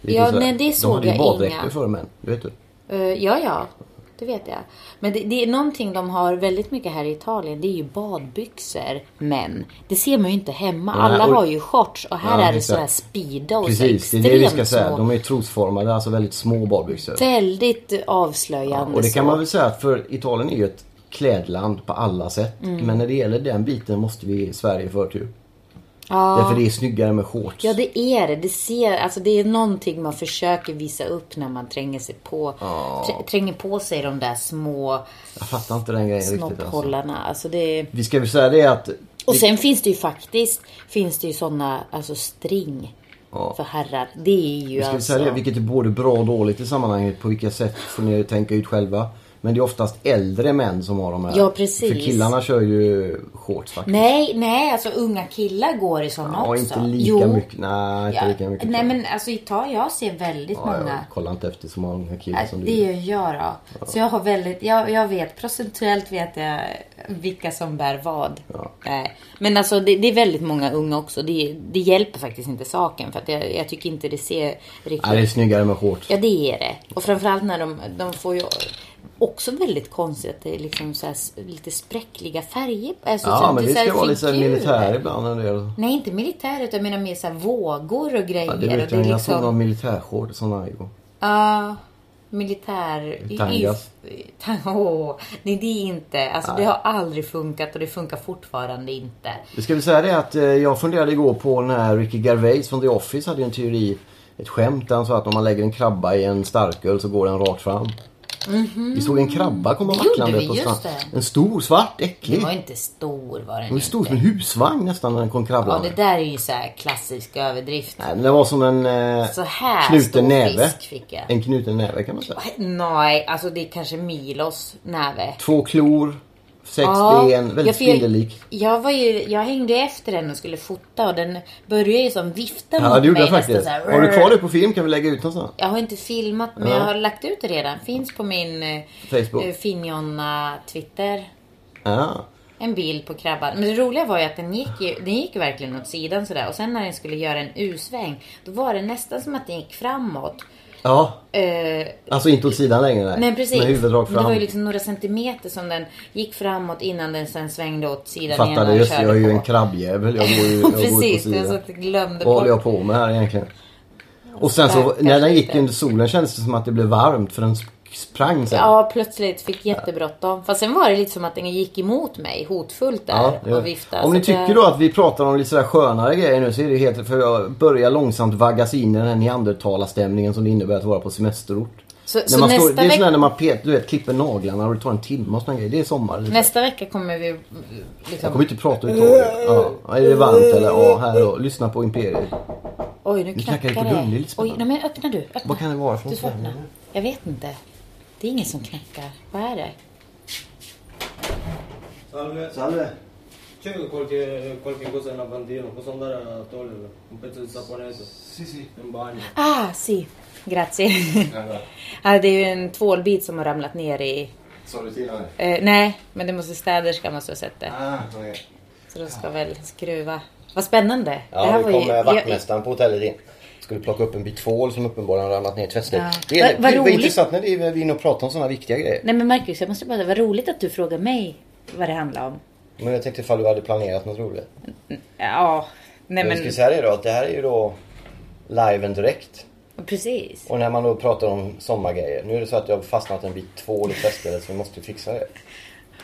[SPEAKER 2] Lite
[SPEAKER 1] Ja,
[SPEAKER 2] så här.
[SPEAKER 1] nej, det såg
[SPEAKER 2] De hade ju
[SPEAKER 1] jag
[SPEAKER 2] baddräkter
[SPEAKER 1] inga.
[SPEAKER 2] för män. Det vet du.
[SPEAKER 1] eh, ja, ja. Det vet jag. Men det, det är någonting de har väldigt mycket här i Italien. Det är ju badbyxor. Men det ser man ju inte hemma.
[SPEAKER 2] Nej,
[SPEAKER 1] Alla
[SPEAKER 2] och-
[SPEAKER 1] har ju shorts och här
[SPEAKER 2] Ja,
[SPEAKER 1] är det
[SPEAKER 2] exakt.
[SPEAKER 1] sådana här speeda och
[SPEAKER 2] Precis,
[SPEAKER 1] så
[SPEAKER 2] det är det vi
[SPEAKER 1] extremt
[SPEAKER 2] ska säga.
[SPEAKER 1] små.
[SPEAKER 2] De är ju trosformade, alltså väldigt små badbyxor.
[SPEAKER 1] Väldigt avslöjande.
[SPEAKER 2] Och det
[SPEAKER 1] så.
[SPEAKER 2] kan man väl säga att för Italien är ju ett klädland på alla sätt.
[SPEAKER 1] Mm.
[SPEAKER 2] Men när det gäller den biten måste vi ge Sverige förtur. Därför det är snyggare med shorts.
[SPEAKER 1] Ja, det är det. Det, ser, alltså, det är någonting man försöker visa upp när man tränger, sig på, trä- tränger på sig de där små
[SPEAKER 2] Jag fattar inte den grejen riktigt. Alltså.
[SPEAKER 1] snopphållarna. Alltså, det är...
[SPEAKER 2] Vi ska väl säga det att
[SPEAKER 1] Och sen finns det ju faktiskt finns det ju såna alltså string för herrar. Det är ju
[SPEAKER 2] Vi ska
[SPEAKER 1] alltså...
[SPEAKER 2] säga det, vilket är både bra och dåligt i sammanhanget. På vilka sätt får ni tänka ut själva. Men Men det är oftast äldre män som har de här.
[SPEAKER 1] Ja, precis.
[SPEAKER 2] För killarna kör ju shorts faktiskt.
[SPEAKER 1] Nej, nej, alltså unga killar går i sådana
[SPEAKER 2] Ja,
[SPEAKER 1] också.
[SPEAKER 2] inte lika mycket. Nej, inte
[SPEAKER 1] Ja.
[SPEAKER 2] lika mycket.
[SPEAKER 1] Nej, men alltså i Italien, jag ser väldigt
[SPEAKER 2] ja,
[SPEAKER 1] många.
[SPEAKER 2] jag kollar inte efter så många killar
[SPEAKER 1] Äh,
[SPEAKER 2] som
[SPEAKER 1] Det
[SPEAKER 2] du.
[SPEAKER 1] gör jag då. Så jag har väldigt, jag, jag vet, procentuellt vet jag vilka som bär vad. Nej. Men alltså det, det är väldigt många unga också. Det, det hjälper faktiskt inte saken. För att jag, jag tycker inte det ser riktigt...
[SPEAKER 2] Nej, det är snyggare med shorts.
[SPEAKER 1] Ja, det är det. Och framförallt när de, de får ju också väldigt konstigt att det är liksom så här, s- lite spräckliga färger. Alltså, så
[SPEAKER 2] Ja,
[SPEAKER 1] att
[SPEAKER 2] men
[SPEAKER 1] det är
[SPEAKER 2] det
[SPEAKER 1] så här
[SPEAKER 2] ska vara lite så här
[SPEAKER 1] figurer.
[SPEAKER 2] militär ibland. En del.
[SPEAKER 1] Nej, inte militär utan jag menar mer så här vågor och grejer.
[SPEAKER 2] Ja,
[SPEAKER 1] och
[SPEAKER 2] det vet jag.
[SPEAKER 1] liksom-
[SPEAKER 2] Jag såg någon militärshorts som var igår.
[SPEAKER 1] Ja, militär...
[SPEAKER 2] Tangas.
[SPEAKER 1] Tang- Åh, nej, det är inte... Alltså, det har aldrig funkat och det funkar fortfarande inte.
[SPEAKER 2] Vi ska väl säga det att eh, jag funderade igår på den här Ricky Gervais från The Office hade ju en teori, ett skämt där han sa att om man lägger en krabba i en starköl så går den rakt fram. Vi såg en krabba komma
[SPEAKER 1] Mhm. Gjorde
[SPEAKER 2] vacklande
[SPEAKER 1] vi?
[SPEAKER 2] på
[SPEAKER 1] Just
[SPEAKER 2] stan.
[SPEAKER 1] det.
[SPEAKER 2] En stor, svart,
[SPEAKER 1] Den
[SPEAKER 2] äcklig.
[SPEAKER 1] var inte stor var den
[SPEAKER 2] Den var stor som
[SPEAKER 1] inte.
[SPEAKER 2] en husvagn nästan när den kom
[SPEAKER 1] Ja,
[SPEAKER 2] krabblande.
[SPEAKER 1] det där är ju så här klassisk överdrift.
[SPEAKER 2] Nej, men den var som en eh,
[SPEAKER 1] Så här stor
[SPEAKER 2] knuten näve.
[SPEAKER 1] fisk fick jag.
[SPEAKER 2] En knuten näve kan man säga.
[SPEAKER 1] Nej, alltså det är kanske Milos näve.
[SPEAKER 2] Två klor, sex ben, väldigt
[SPEAKER 1] för jag-
[SPEAKER 2] spindellik.
[SPEAKER 1] Jag, var ju, jag hängde ju efter den och skulle fota och den började ju som vifta
[SPEAKER 2] Ja,
[SPEAKER 1] mot
[SPEAKER 2] det gjorde jag
[SPEAKER 1] mig
[SPEAKER 2] faktiskt.
[SPEAKER 1] nästan så här,
[SPEAKER 2] Har du kvar det på film kan vi lägga ut någonstans.
[SPEAKER 1] Jag har inte filmat men
[SPEAKER 2] Ja.
[SPEAKER 1] jag har lagt ut det redan. Finns på min eh,
[SPEAKER 2] Facebook.
[SPEAKER 1] eh, Finjonna Twitter.
[SPEAKER 2] Ja.
[SPEAKER 1] En bild på krabban. Men det roliga var ju att den gick ju, den gick ju verkligen åt sidan sådär. Och sen när den skulle göra en U-sväng, då var det nästan som att den gick framåt.
[SPEAKER 2] ja.
[SPEAKER 1] Eh,
[SPEAKER 2] Alltså inte åt sidan längre nej.
[SPEAKER 1] men precis.
[SPEAKER 2] Med huvudet rakt
[SPEAKER 1] Men det
[SPEAKER 2] fram.
[SPEAKER 1] var ju liksom några centimeter som den gick framåt innan den sen svängde åt sidan igen
[SPEAKER 2] Fattade
[SPEAKER 1] och
[SPEAKER 2] just,
[SPEAKER 1] körde
[SPEAKER 2] jag är ju
[SPEAKER 1] på.
[SPEAKER 2] en krabbjävel. Jag går ju jag går ju
[SPEAKER 1] Precis,
[SPEAKER 2] på
[SPEAKER 1] det är så
[SPEAKER 2] sidan.
[SPEAKER 1] att jag glömde
[SPEAKER 2] Vad håller
[SPEAKER 1] bort.
[SPEAKER 2] jag på med här egentligen? Och sen så
[SPEAKER 1] Stackars
[SPEAKER 2] när den gick
[SPEAKER 1] liten.
[SPEAKER 2] under solen kändes det som att det blev varmt för den sp- sprang sen.
[SPEAKER 1] Ja, plötsligt fick jättebråttom. Fast sen var det lite som att den gick emot mig hotfullt där
[SPEAKER 2] det-
[SPEAKER 1] och viftade.
[SPEAKER 2] Om
[SPEAKER 1] Så
[SPEAKER 2] ni
[SPEAKER 1] eh, att
[SPEAKER 2] tycker
[SPEAKER 1] jag-
[SPEAKER 2] då att vi pratar om lite sådär skönare grejer nu så är det helt för jag börjar långsamt vaggas in i den här neandertalarstämningen som det innebär att vara på semesterort.
[SPEAKER 1] Så-
[SPEAKER 2] när
[SPEAKER 1] så
[SPEAKER 2] man
[SPEAKER 1] nästa
[SPEAKER 2] det är
[SPEAKER 1] veck-
[SPEAKER 2] sådär när man pet, du vet, klipper naglarna och det tar en timme och såna grejer. Det är sommar. Lite.
[SPEAKER 1] Nästa vecka kommer vi
[SPEAKER 2] Jag
[SPEAKER 1] liksom...
[SPEAKER 2] kommer inte prata överhuvudtaget. Ja. Är det varmt eller? Ja, här då. Lyssna på Imperiet.
[SPEAKER 1] Oj, nu
[SPEAKER 2] knackar
[SPEAKER 1] knackar
[SPEAKER 2] det på dörren, det är lite
[SPEAKER 1] det. Oj,
[SPEAKER 2] spännande.
[SPEAKER 1] nej, men öppna du. Öppna.
[SPEAKER 2] Vad kan det vara för
[SPEAKER 1] Du
[SPEAKER 2] något?
[SPEAKER 1] får öppna. Jag vet inte. Det är ingen som knackar. Vad är det?
[SPEAKER 3] Salve,
[SPEAKER 2] Salve!
[SPEAKER 3] c'è qualche, qualche cosa in lavandino? Posso andare a toglierlo? Un pezzo di saponetto? Sì, sì. In bagno.
[SPEAKER 1] Ah, si. Grazie. ja, det är ju en tvålbit som har ramlat ner i...
[SPEAKER 2] Sa du till mig?
[SPEAKER 1] Eh, nej, men det måste städerskan måste ha sett det.
[SPEAKER 2] Ah, okej.
[SPEAKER 1] Så de ska väl skruva. Vad spännande.
[SPEAKER 2] Ja, nu
[SPEAKER 1] ju-
[SPEAKER 2] kom eh,
[SPEAKER 1] jag-
[SPEAKER 2] vaktmästaren på hotellet in. Skulle plocka upp en bit tvål som uppenbarligen har ramlat ner i ett tvättställ.
[SPEAKER 1] Ja.
[SPEAKER 2] Det är
[SPEAKER 1] Vad- vad
[SPEAKER 2] det var
[SPEAKER 1] roligt.
[SPEAKER 2] intressant när det är- vi är inne och pratar om sådana viktiga grejer.
[SPEAKER 1] Nej men Marcus, jag måste bara säga, vad roligt att du frågar mig vad det handlar om.
[SPEAKER 2] Men jag tänkte ifall du hade planerat något roligt.
[SPEAKER 1] Ja, nej
[SPEAKER 2] Men...
[SPEAKER 1] men
[SPEAKER 2] Jag ska säga det då att det här är ju då live and direkt.
[SPEAKER 1] precis.
[SPEAKER 2] Och när man då pratar om sommargrejer. Nu är det så att jag har fastnat en bit tvål i tvättstället så vi måste fixa det.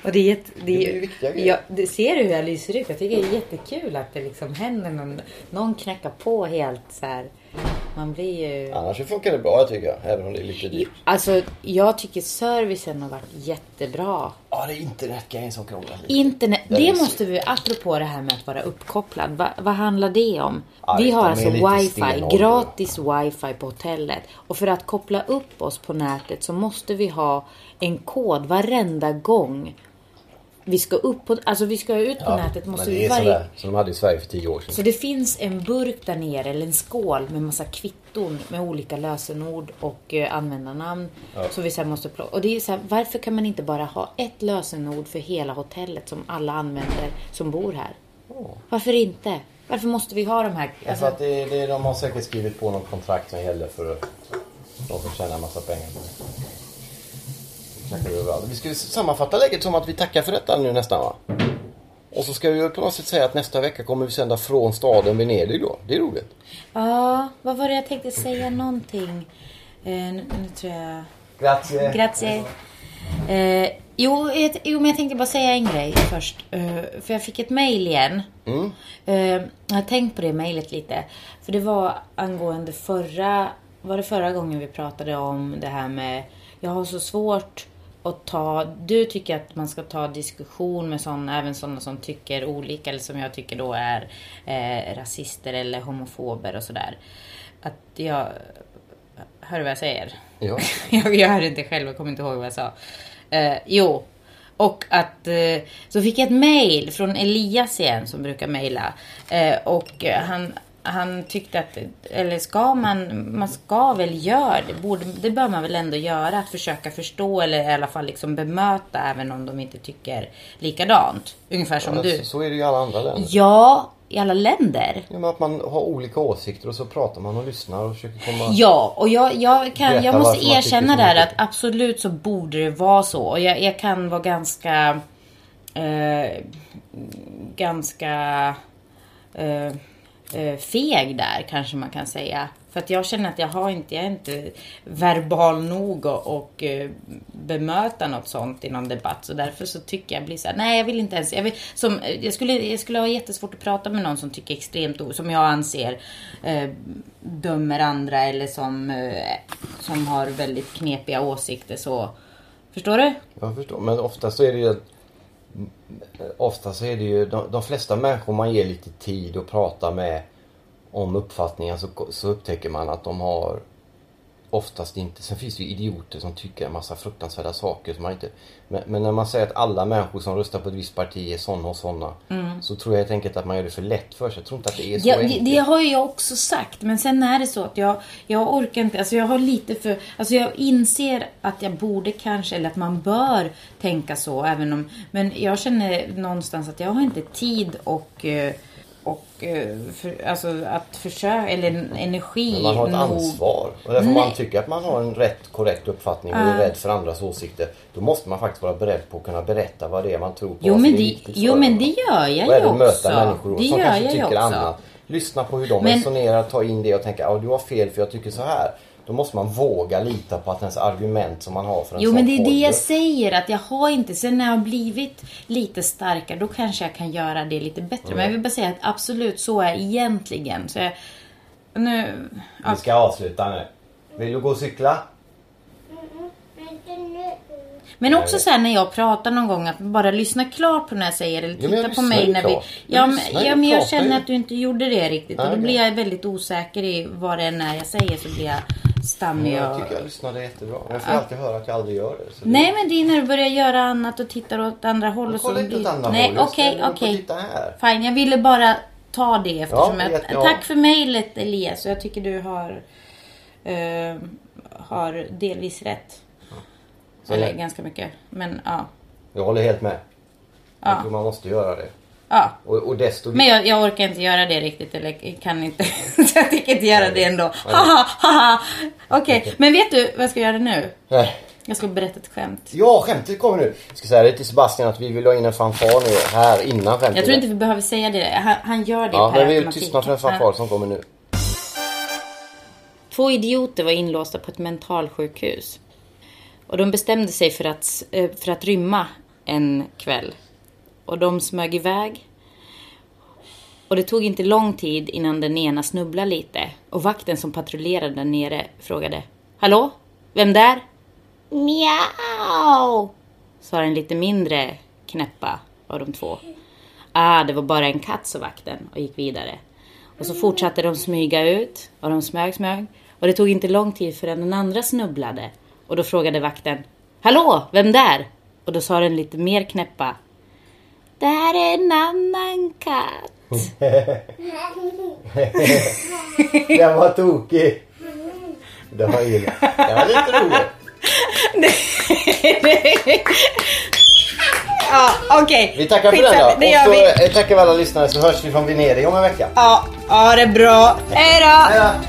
[SPEAKER 1] Och det är jätte,
[SPEAKER 2] Det är ju viktiga grejer.
[SPEAKER 1] ja, det, Ser du hur jag lyser ut? Jag tycker det är jättekul att det liksom händer någon, någon knackar på helt så här. Man blir ju...
[SPEAKER 2] Annars så funkar det bra tycker jag. Även om det är lite dyrt.
[SPEAKER 1] Alltså, jag tycker servicen har varit jättebra.
[SPEAKER 2] Ja, det är internetgrejen som krånglar lite.
[SPEAKER 1] Internet,
[SPEAKER 2] Där är
[SPEAKER 1] det
[SPEAKER 2] det
[SPEAKER 1] måste vi, apropå det här med att vara uppkopplad, va, vad handlar det om?
[SPEAKER 2] Ja,
[SPEAKER 1] Vi
[SPEAKER 2] de
[SPEAKER 1] har
[SPEAKER 2] är
[SPEAKER 1] alltså
[SPEAKER 2] lite
[SPEAKER 1] wifi,
[SPEAKER 2] stenåldrar.
[SPEAKER 1] gratis wifi på hotellet. Och för att koppla upp oss på nätet så måste vi ha en kod varenda gång. Vi ska upp på, alltså vi ska ut på nätet. Måste
[SPEAKER 2] men det
[SPEAKER 1] vi
[SPEAKER 2] är
[SPEAKER 1] varje...
[SPEAKER 2] sådär som de hade i Sverige för tio år sedan.
[SPEAKER 1] Så det finns en burk där nere, eller en skål med massa kvitton med olika lösenord och eh, användarnamn. Så vi sen måste plocka. Och det är så här, varför kan man inte bara ha ett lösenord för hela hotellet som alla använder som bor här? Varför inte? Varför måste vi ha de här? Alltså,
[SPEAKER 2] Ja, för Alltså att det, det, de har säkert skrivit på något kontrakt som gäller för de som tjänar massa pengar på det. Nu knackar det överallt. Vi ska ju sammanfatta läget som att vi tackar för detta nu nästan va? Och så ska vi ju på något sätt säga att nästa vecka kommer vi sända från staden Venedig då. Det är roligt.
[SPEAKER 1] Ja, vad var det jag tänkte säga någonting? Eh, nu, nu tror jag...
[SPEAKER 2] Grazie.
[SPEAKER 1] Grazie. Eh, jo, ett- jo, men jag tänkte bara säga en grej först. Eh, för jag fick ett mejl igen. Eh, jag har tänkt på det mejlet lite. För det var angående förra... Var det förra gången vi pratade om det här med... Jag har så svårt att ta... Du tycker att man ska ta diskussion med sådana, även sådana som tycker olika eller som jag tycker då är eh, rasister eller homofober och sådär. Att jag... Hör du vad jag säger?
[SPEAKER 2] Ja.
[SPEAKER 1] jag, jag hörde inte själv, jag kommer inte ihåg vad jag sa. Eh, jo. Och att eh, så fick jag ett mail från Elias igen som brukar mejla. Eh, och eh, han, han tyckte att, eller ska man, man ska väl göra det, borde, det bör man väl ändå göra. Att försöka förstå eller i alla fall liksom bemöta även om de inte tycker likadant. Ungefär som du.
[SPEAKER 2] Så är det ju i alla andra länder.
[SPEAKER 1] Ja, i alla länder.
[SPEAKER 2] Ja, men att man har olika åsikter och så pratar man och lyssnar och försöker komma...
[SPEAKER 1] Ja, och jag, jag, kan,
[SPEAKER 2] Berätta
[SPEAKER 1] jag måste
[SPEAKER 2] varför man tycker
[SPEAKER 1] erkänna
[SPEAKER 2] som
[SPEAKER 1] där
[SPEAKER 2] man
[SPEAKER 1] att absolut så borde det vara så. Och jag, jag kan vara ganska... Eh, ganska eh, eh, feg där kanske man kan säga. För att jag känner att jag, har inte, jag är inte verbal nog och, och eh, bemöta något sånt i någon debatt. Så därför så tycker jag blir så här, nej jag vill inte ens. Jag, vill, som, eh, jag, skulle, jag skulle ha jättesvårt att prata med någon som tycker extremt o- som jag anser eh, dömer andra eller som, eh, som har väldigt knepiga åsikter så. Förstår du?
[SPEAKER 2] Jag förstår. Men oftast så är det ju... Oftast så är det ju... De, de flesta människor man ger lite tid att prata med om uppfattningar så, så upptäcker man att de har oftast inte... Sen finns det ju idioter som tycker en massa fruktansvärda saker som man inte... Men, men när man säger att alla människor som röstar på ett visst parti är sådana och sådana. Så tror jag helt enkelt att man gör det för lätt för sig. Jag tror inte att det är
[SPEAKER 1] Mm.
[SPEAKER 2] så
[SPEAKER 1] Ja, det,
[SPEAKER 2] enkelt.
[SPEAKER 1] det har ju jag också sagt. Men sen är det så att jag, jag orkar inte. Alltså jag har lite för... Alltså jag inser att jag borde kanske, eller att man bör tänka så. Även om, men jag känner någonstans att jag har inte tid och... eh, och eh, för, alltså att försöka, eller energi
[SPEAKER 2] Men man har ett
[SPEAKER 1] nog.
[SPEAKER 2] ansvar. Och därför
[SPEAKER 1] Nej.
[SPEAKER 2] man tycker att man har en rätt korrekt uppfattning och är rädd för andras åsikter. Då måste man faktiskt vara beredd på att kunna berätta vad det är man tror på.
[SPEAKER 1] Jo
[SPEAKER 2] vad som
[SPEAKER 1] men,
[SPEAKER 2] är
[SPEAKER 1] det,
[SPEAKER 2] viktigt
[SPEAKER 1] jo
[SPEAKER 2] för
[SPEAKER 1] men
[SPEAKER 2] en.
[SPEAKER 1] det gör jag
[SPEAKER 2] Och
[SPEAKER 1] ju
[SPEAKER 2] även
[SPEAKER 1] också.
[SPEAKER 2] möta människor
[SPEAKER 1] det
[SPEAKER 2] som
[SPEAKER 1] gör
[SPEAKER 2] kanske
[SPEAKER 1] jag ju
[SPEAKER 2] tycker
[SPEAKER 1] också.
[SPEAKER 2] annat. Lyssna på hur de
[SPEAKER 1] Men-
[SPEAKER 2] resonerar, ta in det och tänka att du har fel för jag tycker så här. Då måste man våga lita på att ens argument som man har för en
[SPEAKER 1] Jo
[SPEAKER 2] sak
[SPEAKER 1] men det är det
[SPEAKER 2] håller.
[SPEAKER 1] jag säger att jag har inte. Sen när jag har blivit lite starkare då kanske jag kan göra det lite bättre. Men jag vill bara säga att absolut så är jag egentligen. Så jag, nu, ja,
[SPEAKER 2] Vi ska avsluta nu. Vill du gå och cykla?
[SPEAKER 1] men också så här när jag pratar någon gång att bara lyssna klart på när jag säger eller
[SPEAKER 2] Jo, men
[SPEAKER 1] titta
[SPEAKER 2] jag
[SPEAKER 1] på
[SPEAKER 2] lyssnar
[SPEAKER 1] mig
[SPEAKER 2] ju
[SPEAKER 1] när vi...
[SPEAKER 2] klart. Jag
[SPEAKER 1] Ja, men,
[SPEAKER 2] lyssnar ju
[SPEAKER 1] ja, men jag
[SPEAKER 2] klart,
[SPEAKER 1] känner
[SPEAKER 2] men-
[SPEAKER 1] att du inte gjorde det riktigt. Och
[SPEAKER 2] Nej,
[SPEAKER 1] då
[SPEAKER 2] nej.
[SPEAKER 1] blir jag väldigt osäker i vad det än är jag säger så blir jag stammig
[SPEAKER 2] Jag
[SPEAKER 1] och...
[SPEAKER 2] tycker jag lyssnade jättebra. Men Jag får alltid höra att jag aldrig gör det. Så det-
[SPEAKER 1] Nej men det är när du börjar göra annat och tittar åt andra håll och så...
[SPEAKER 2] Kolla inte åt
[SPEAKER 1] blir-
[SPEAKER 2] andra
[SPEAKER 1] Nej
[SPEAKER 2] hållet.
[SPEAKER 1] okej,
[SPEAKER 2] Ställ dig upp och
[SPEAKER 1] okej.
[SPEAKER 2] Titta här.
[SPEAKER 1] Fine, jag ville bara ta det eftersom
[SPEAKER 2] Ja,
[SPEAKER 1] jag,
[SPEAKER 2] jättebra.
[SPEAKER 1] Tack för mejlet Elias. Jag tycker du har, eh, har delvis rätt. Eller ganska mycket. Men ja.
[SPEAKER 2] Jag håller helt med. Jag tror man måste göra det.
[SPEAKER 1] ja.
[SPEAKER 2] Och, och desto
[SPEAKER 1] Men jag, jag orkar inte göra det riktigt. Eller kan inte. så jag tänker inte göra det ändå. Haha, haha. Okej, men vet du vad jag ska göra nu?
[SPEAKER 2] Nej.
[SPEAKER 1] Jag ska berätta ett skämt.
[SPEAKER 2] Eh. Ja, skämtet kommer nu. Jag ska säga det till Sebastian att vi vill ha in en fanfar nu här innan skämtet.
[SPEAKER 1] Jag tror inte vi behöver säga det. Han, han gör det
[SPEAKER 2] Ja,
[SPEAKER 1] per
[SPEAKER 2] men vi vill
[SPEAKER 1] automatik.
[SPEAKER 2] tystna för en fanfar som kommer nu.
[SPEAKER 1] Två idioter var inlåsta på ett mentalsjukhus. Och de bestämde sig för att, eh, för att rymma en kväll. Och de smög iväg. Och det tog inte lång tid innan den ena snubblade lite. Och vakten som patrullerade där nere frågade. Hallå? Vem där? Miau! Sa den lite mindre knäppa av de två. Ah, det var bara en katt, sa vakten och gick vidare. Och så fortsatte de smyga ut och de smög, smög. Och det tog inte lång tid förrän den andra snubblade. Och då frågade vakten. Hallå, vem där? Och då sa den lite mer knäppa. Det här är en annan katt.
[SPEAKER 2] Den var tokig. Det var illa. Det var lite roligt.
[SPEAKER 1] Ja, okej.
[SPEAKER 2] Vi tackar för
[SPEAKER 1] Skitsamma,
[SPEAKER 2] den då.
[SPEAKER 1] Det
[SPEAKER 2] Och
[SPEAKER 1] gör
[SPEAKER 2] så
[SPEAKER 1] vi.
[SPEAKER 2] eh, tackar vi alla lyssnare så hörs vi från Venedig om en vecka.
[SPEAKER 1] Ja, ja det är bra. Hej då!
[SPEAKER 2] Hej då!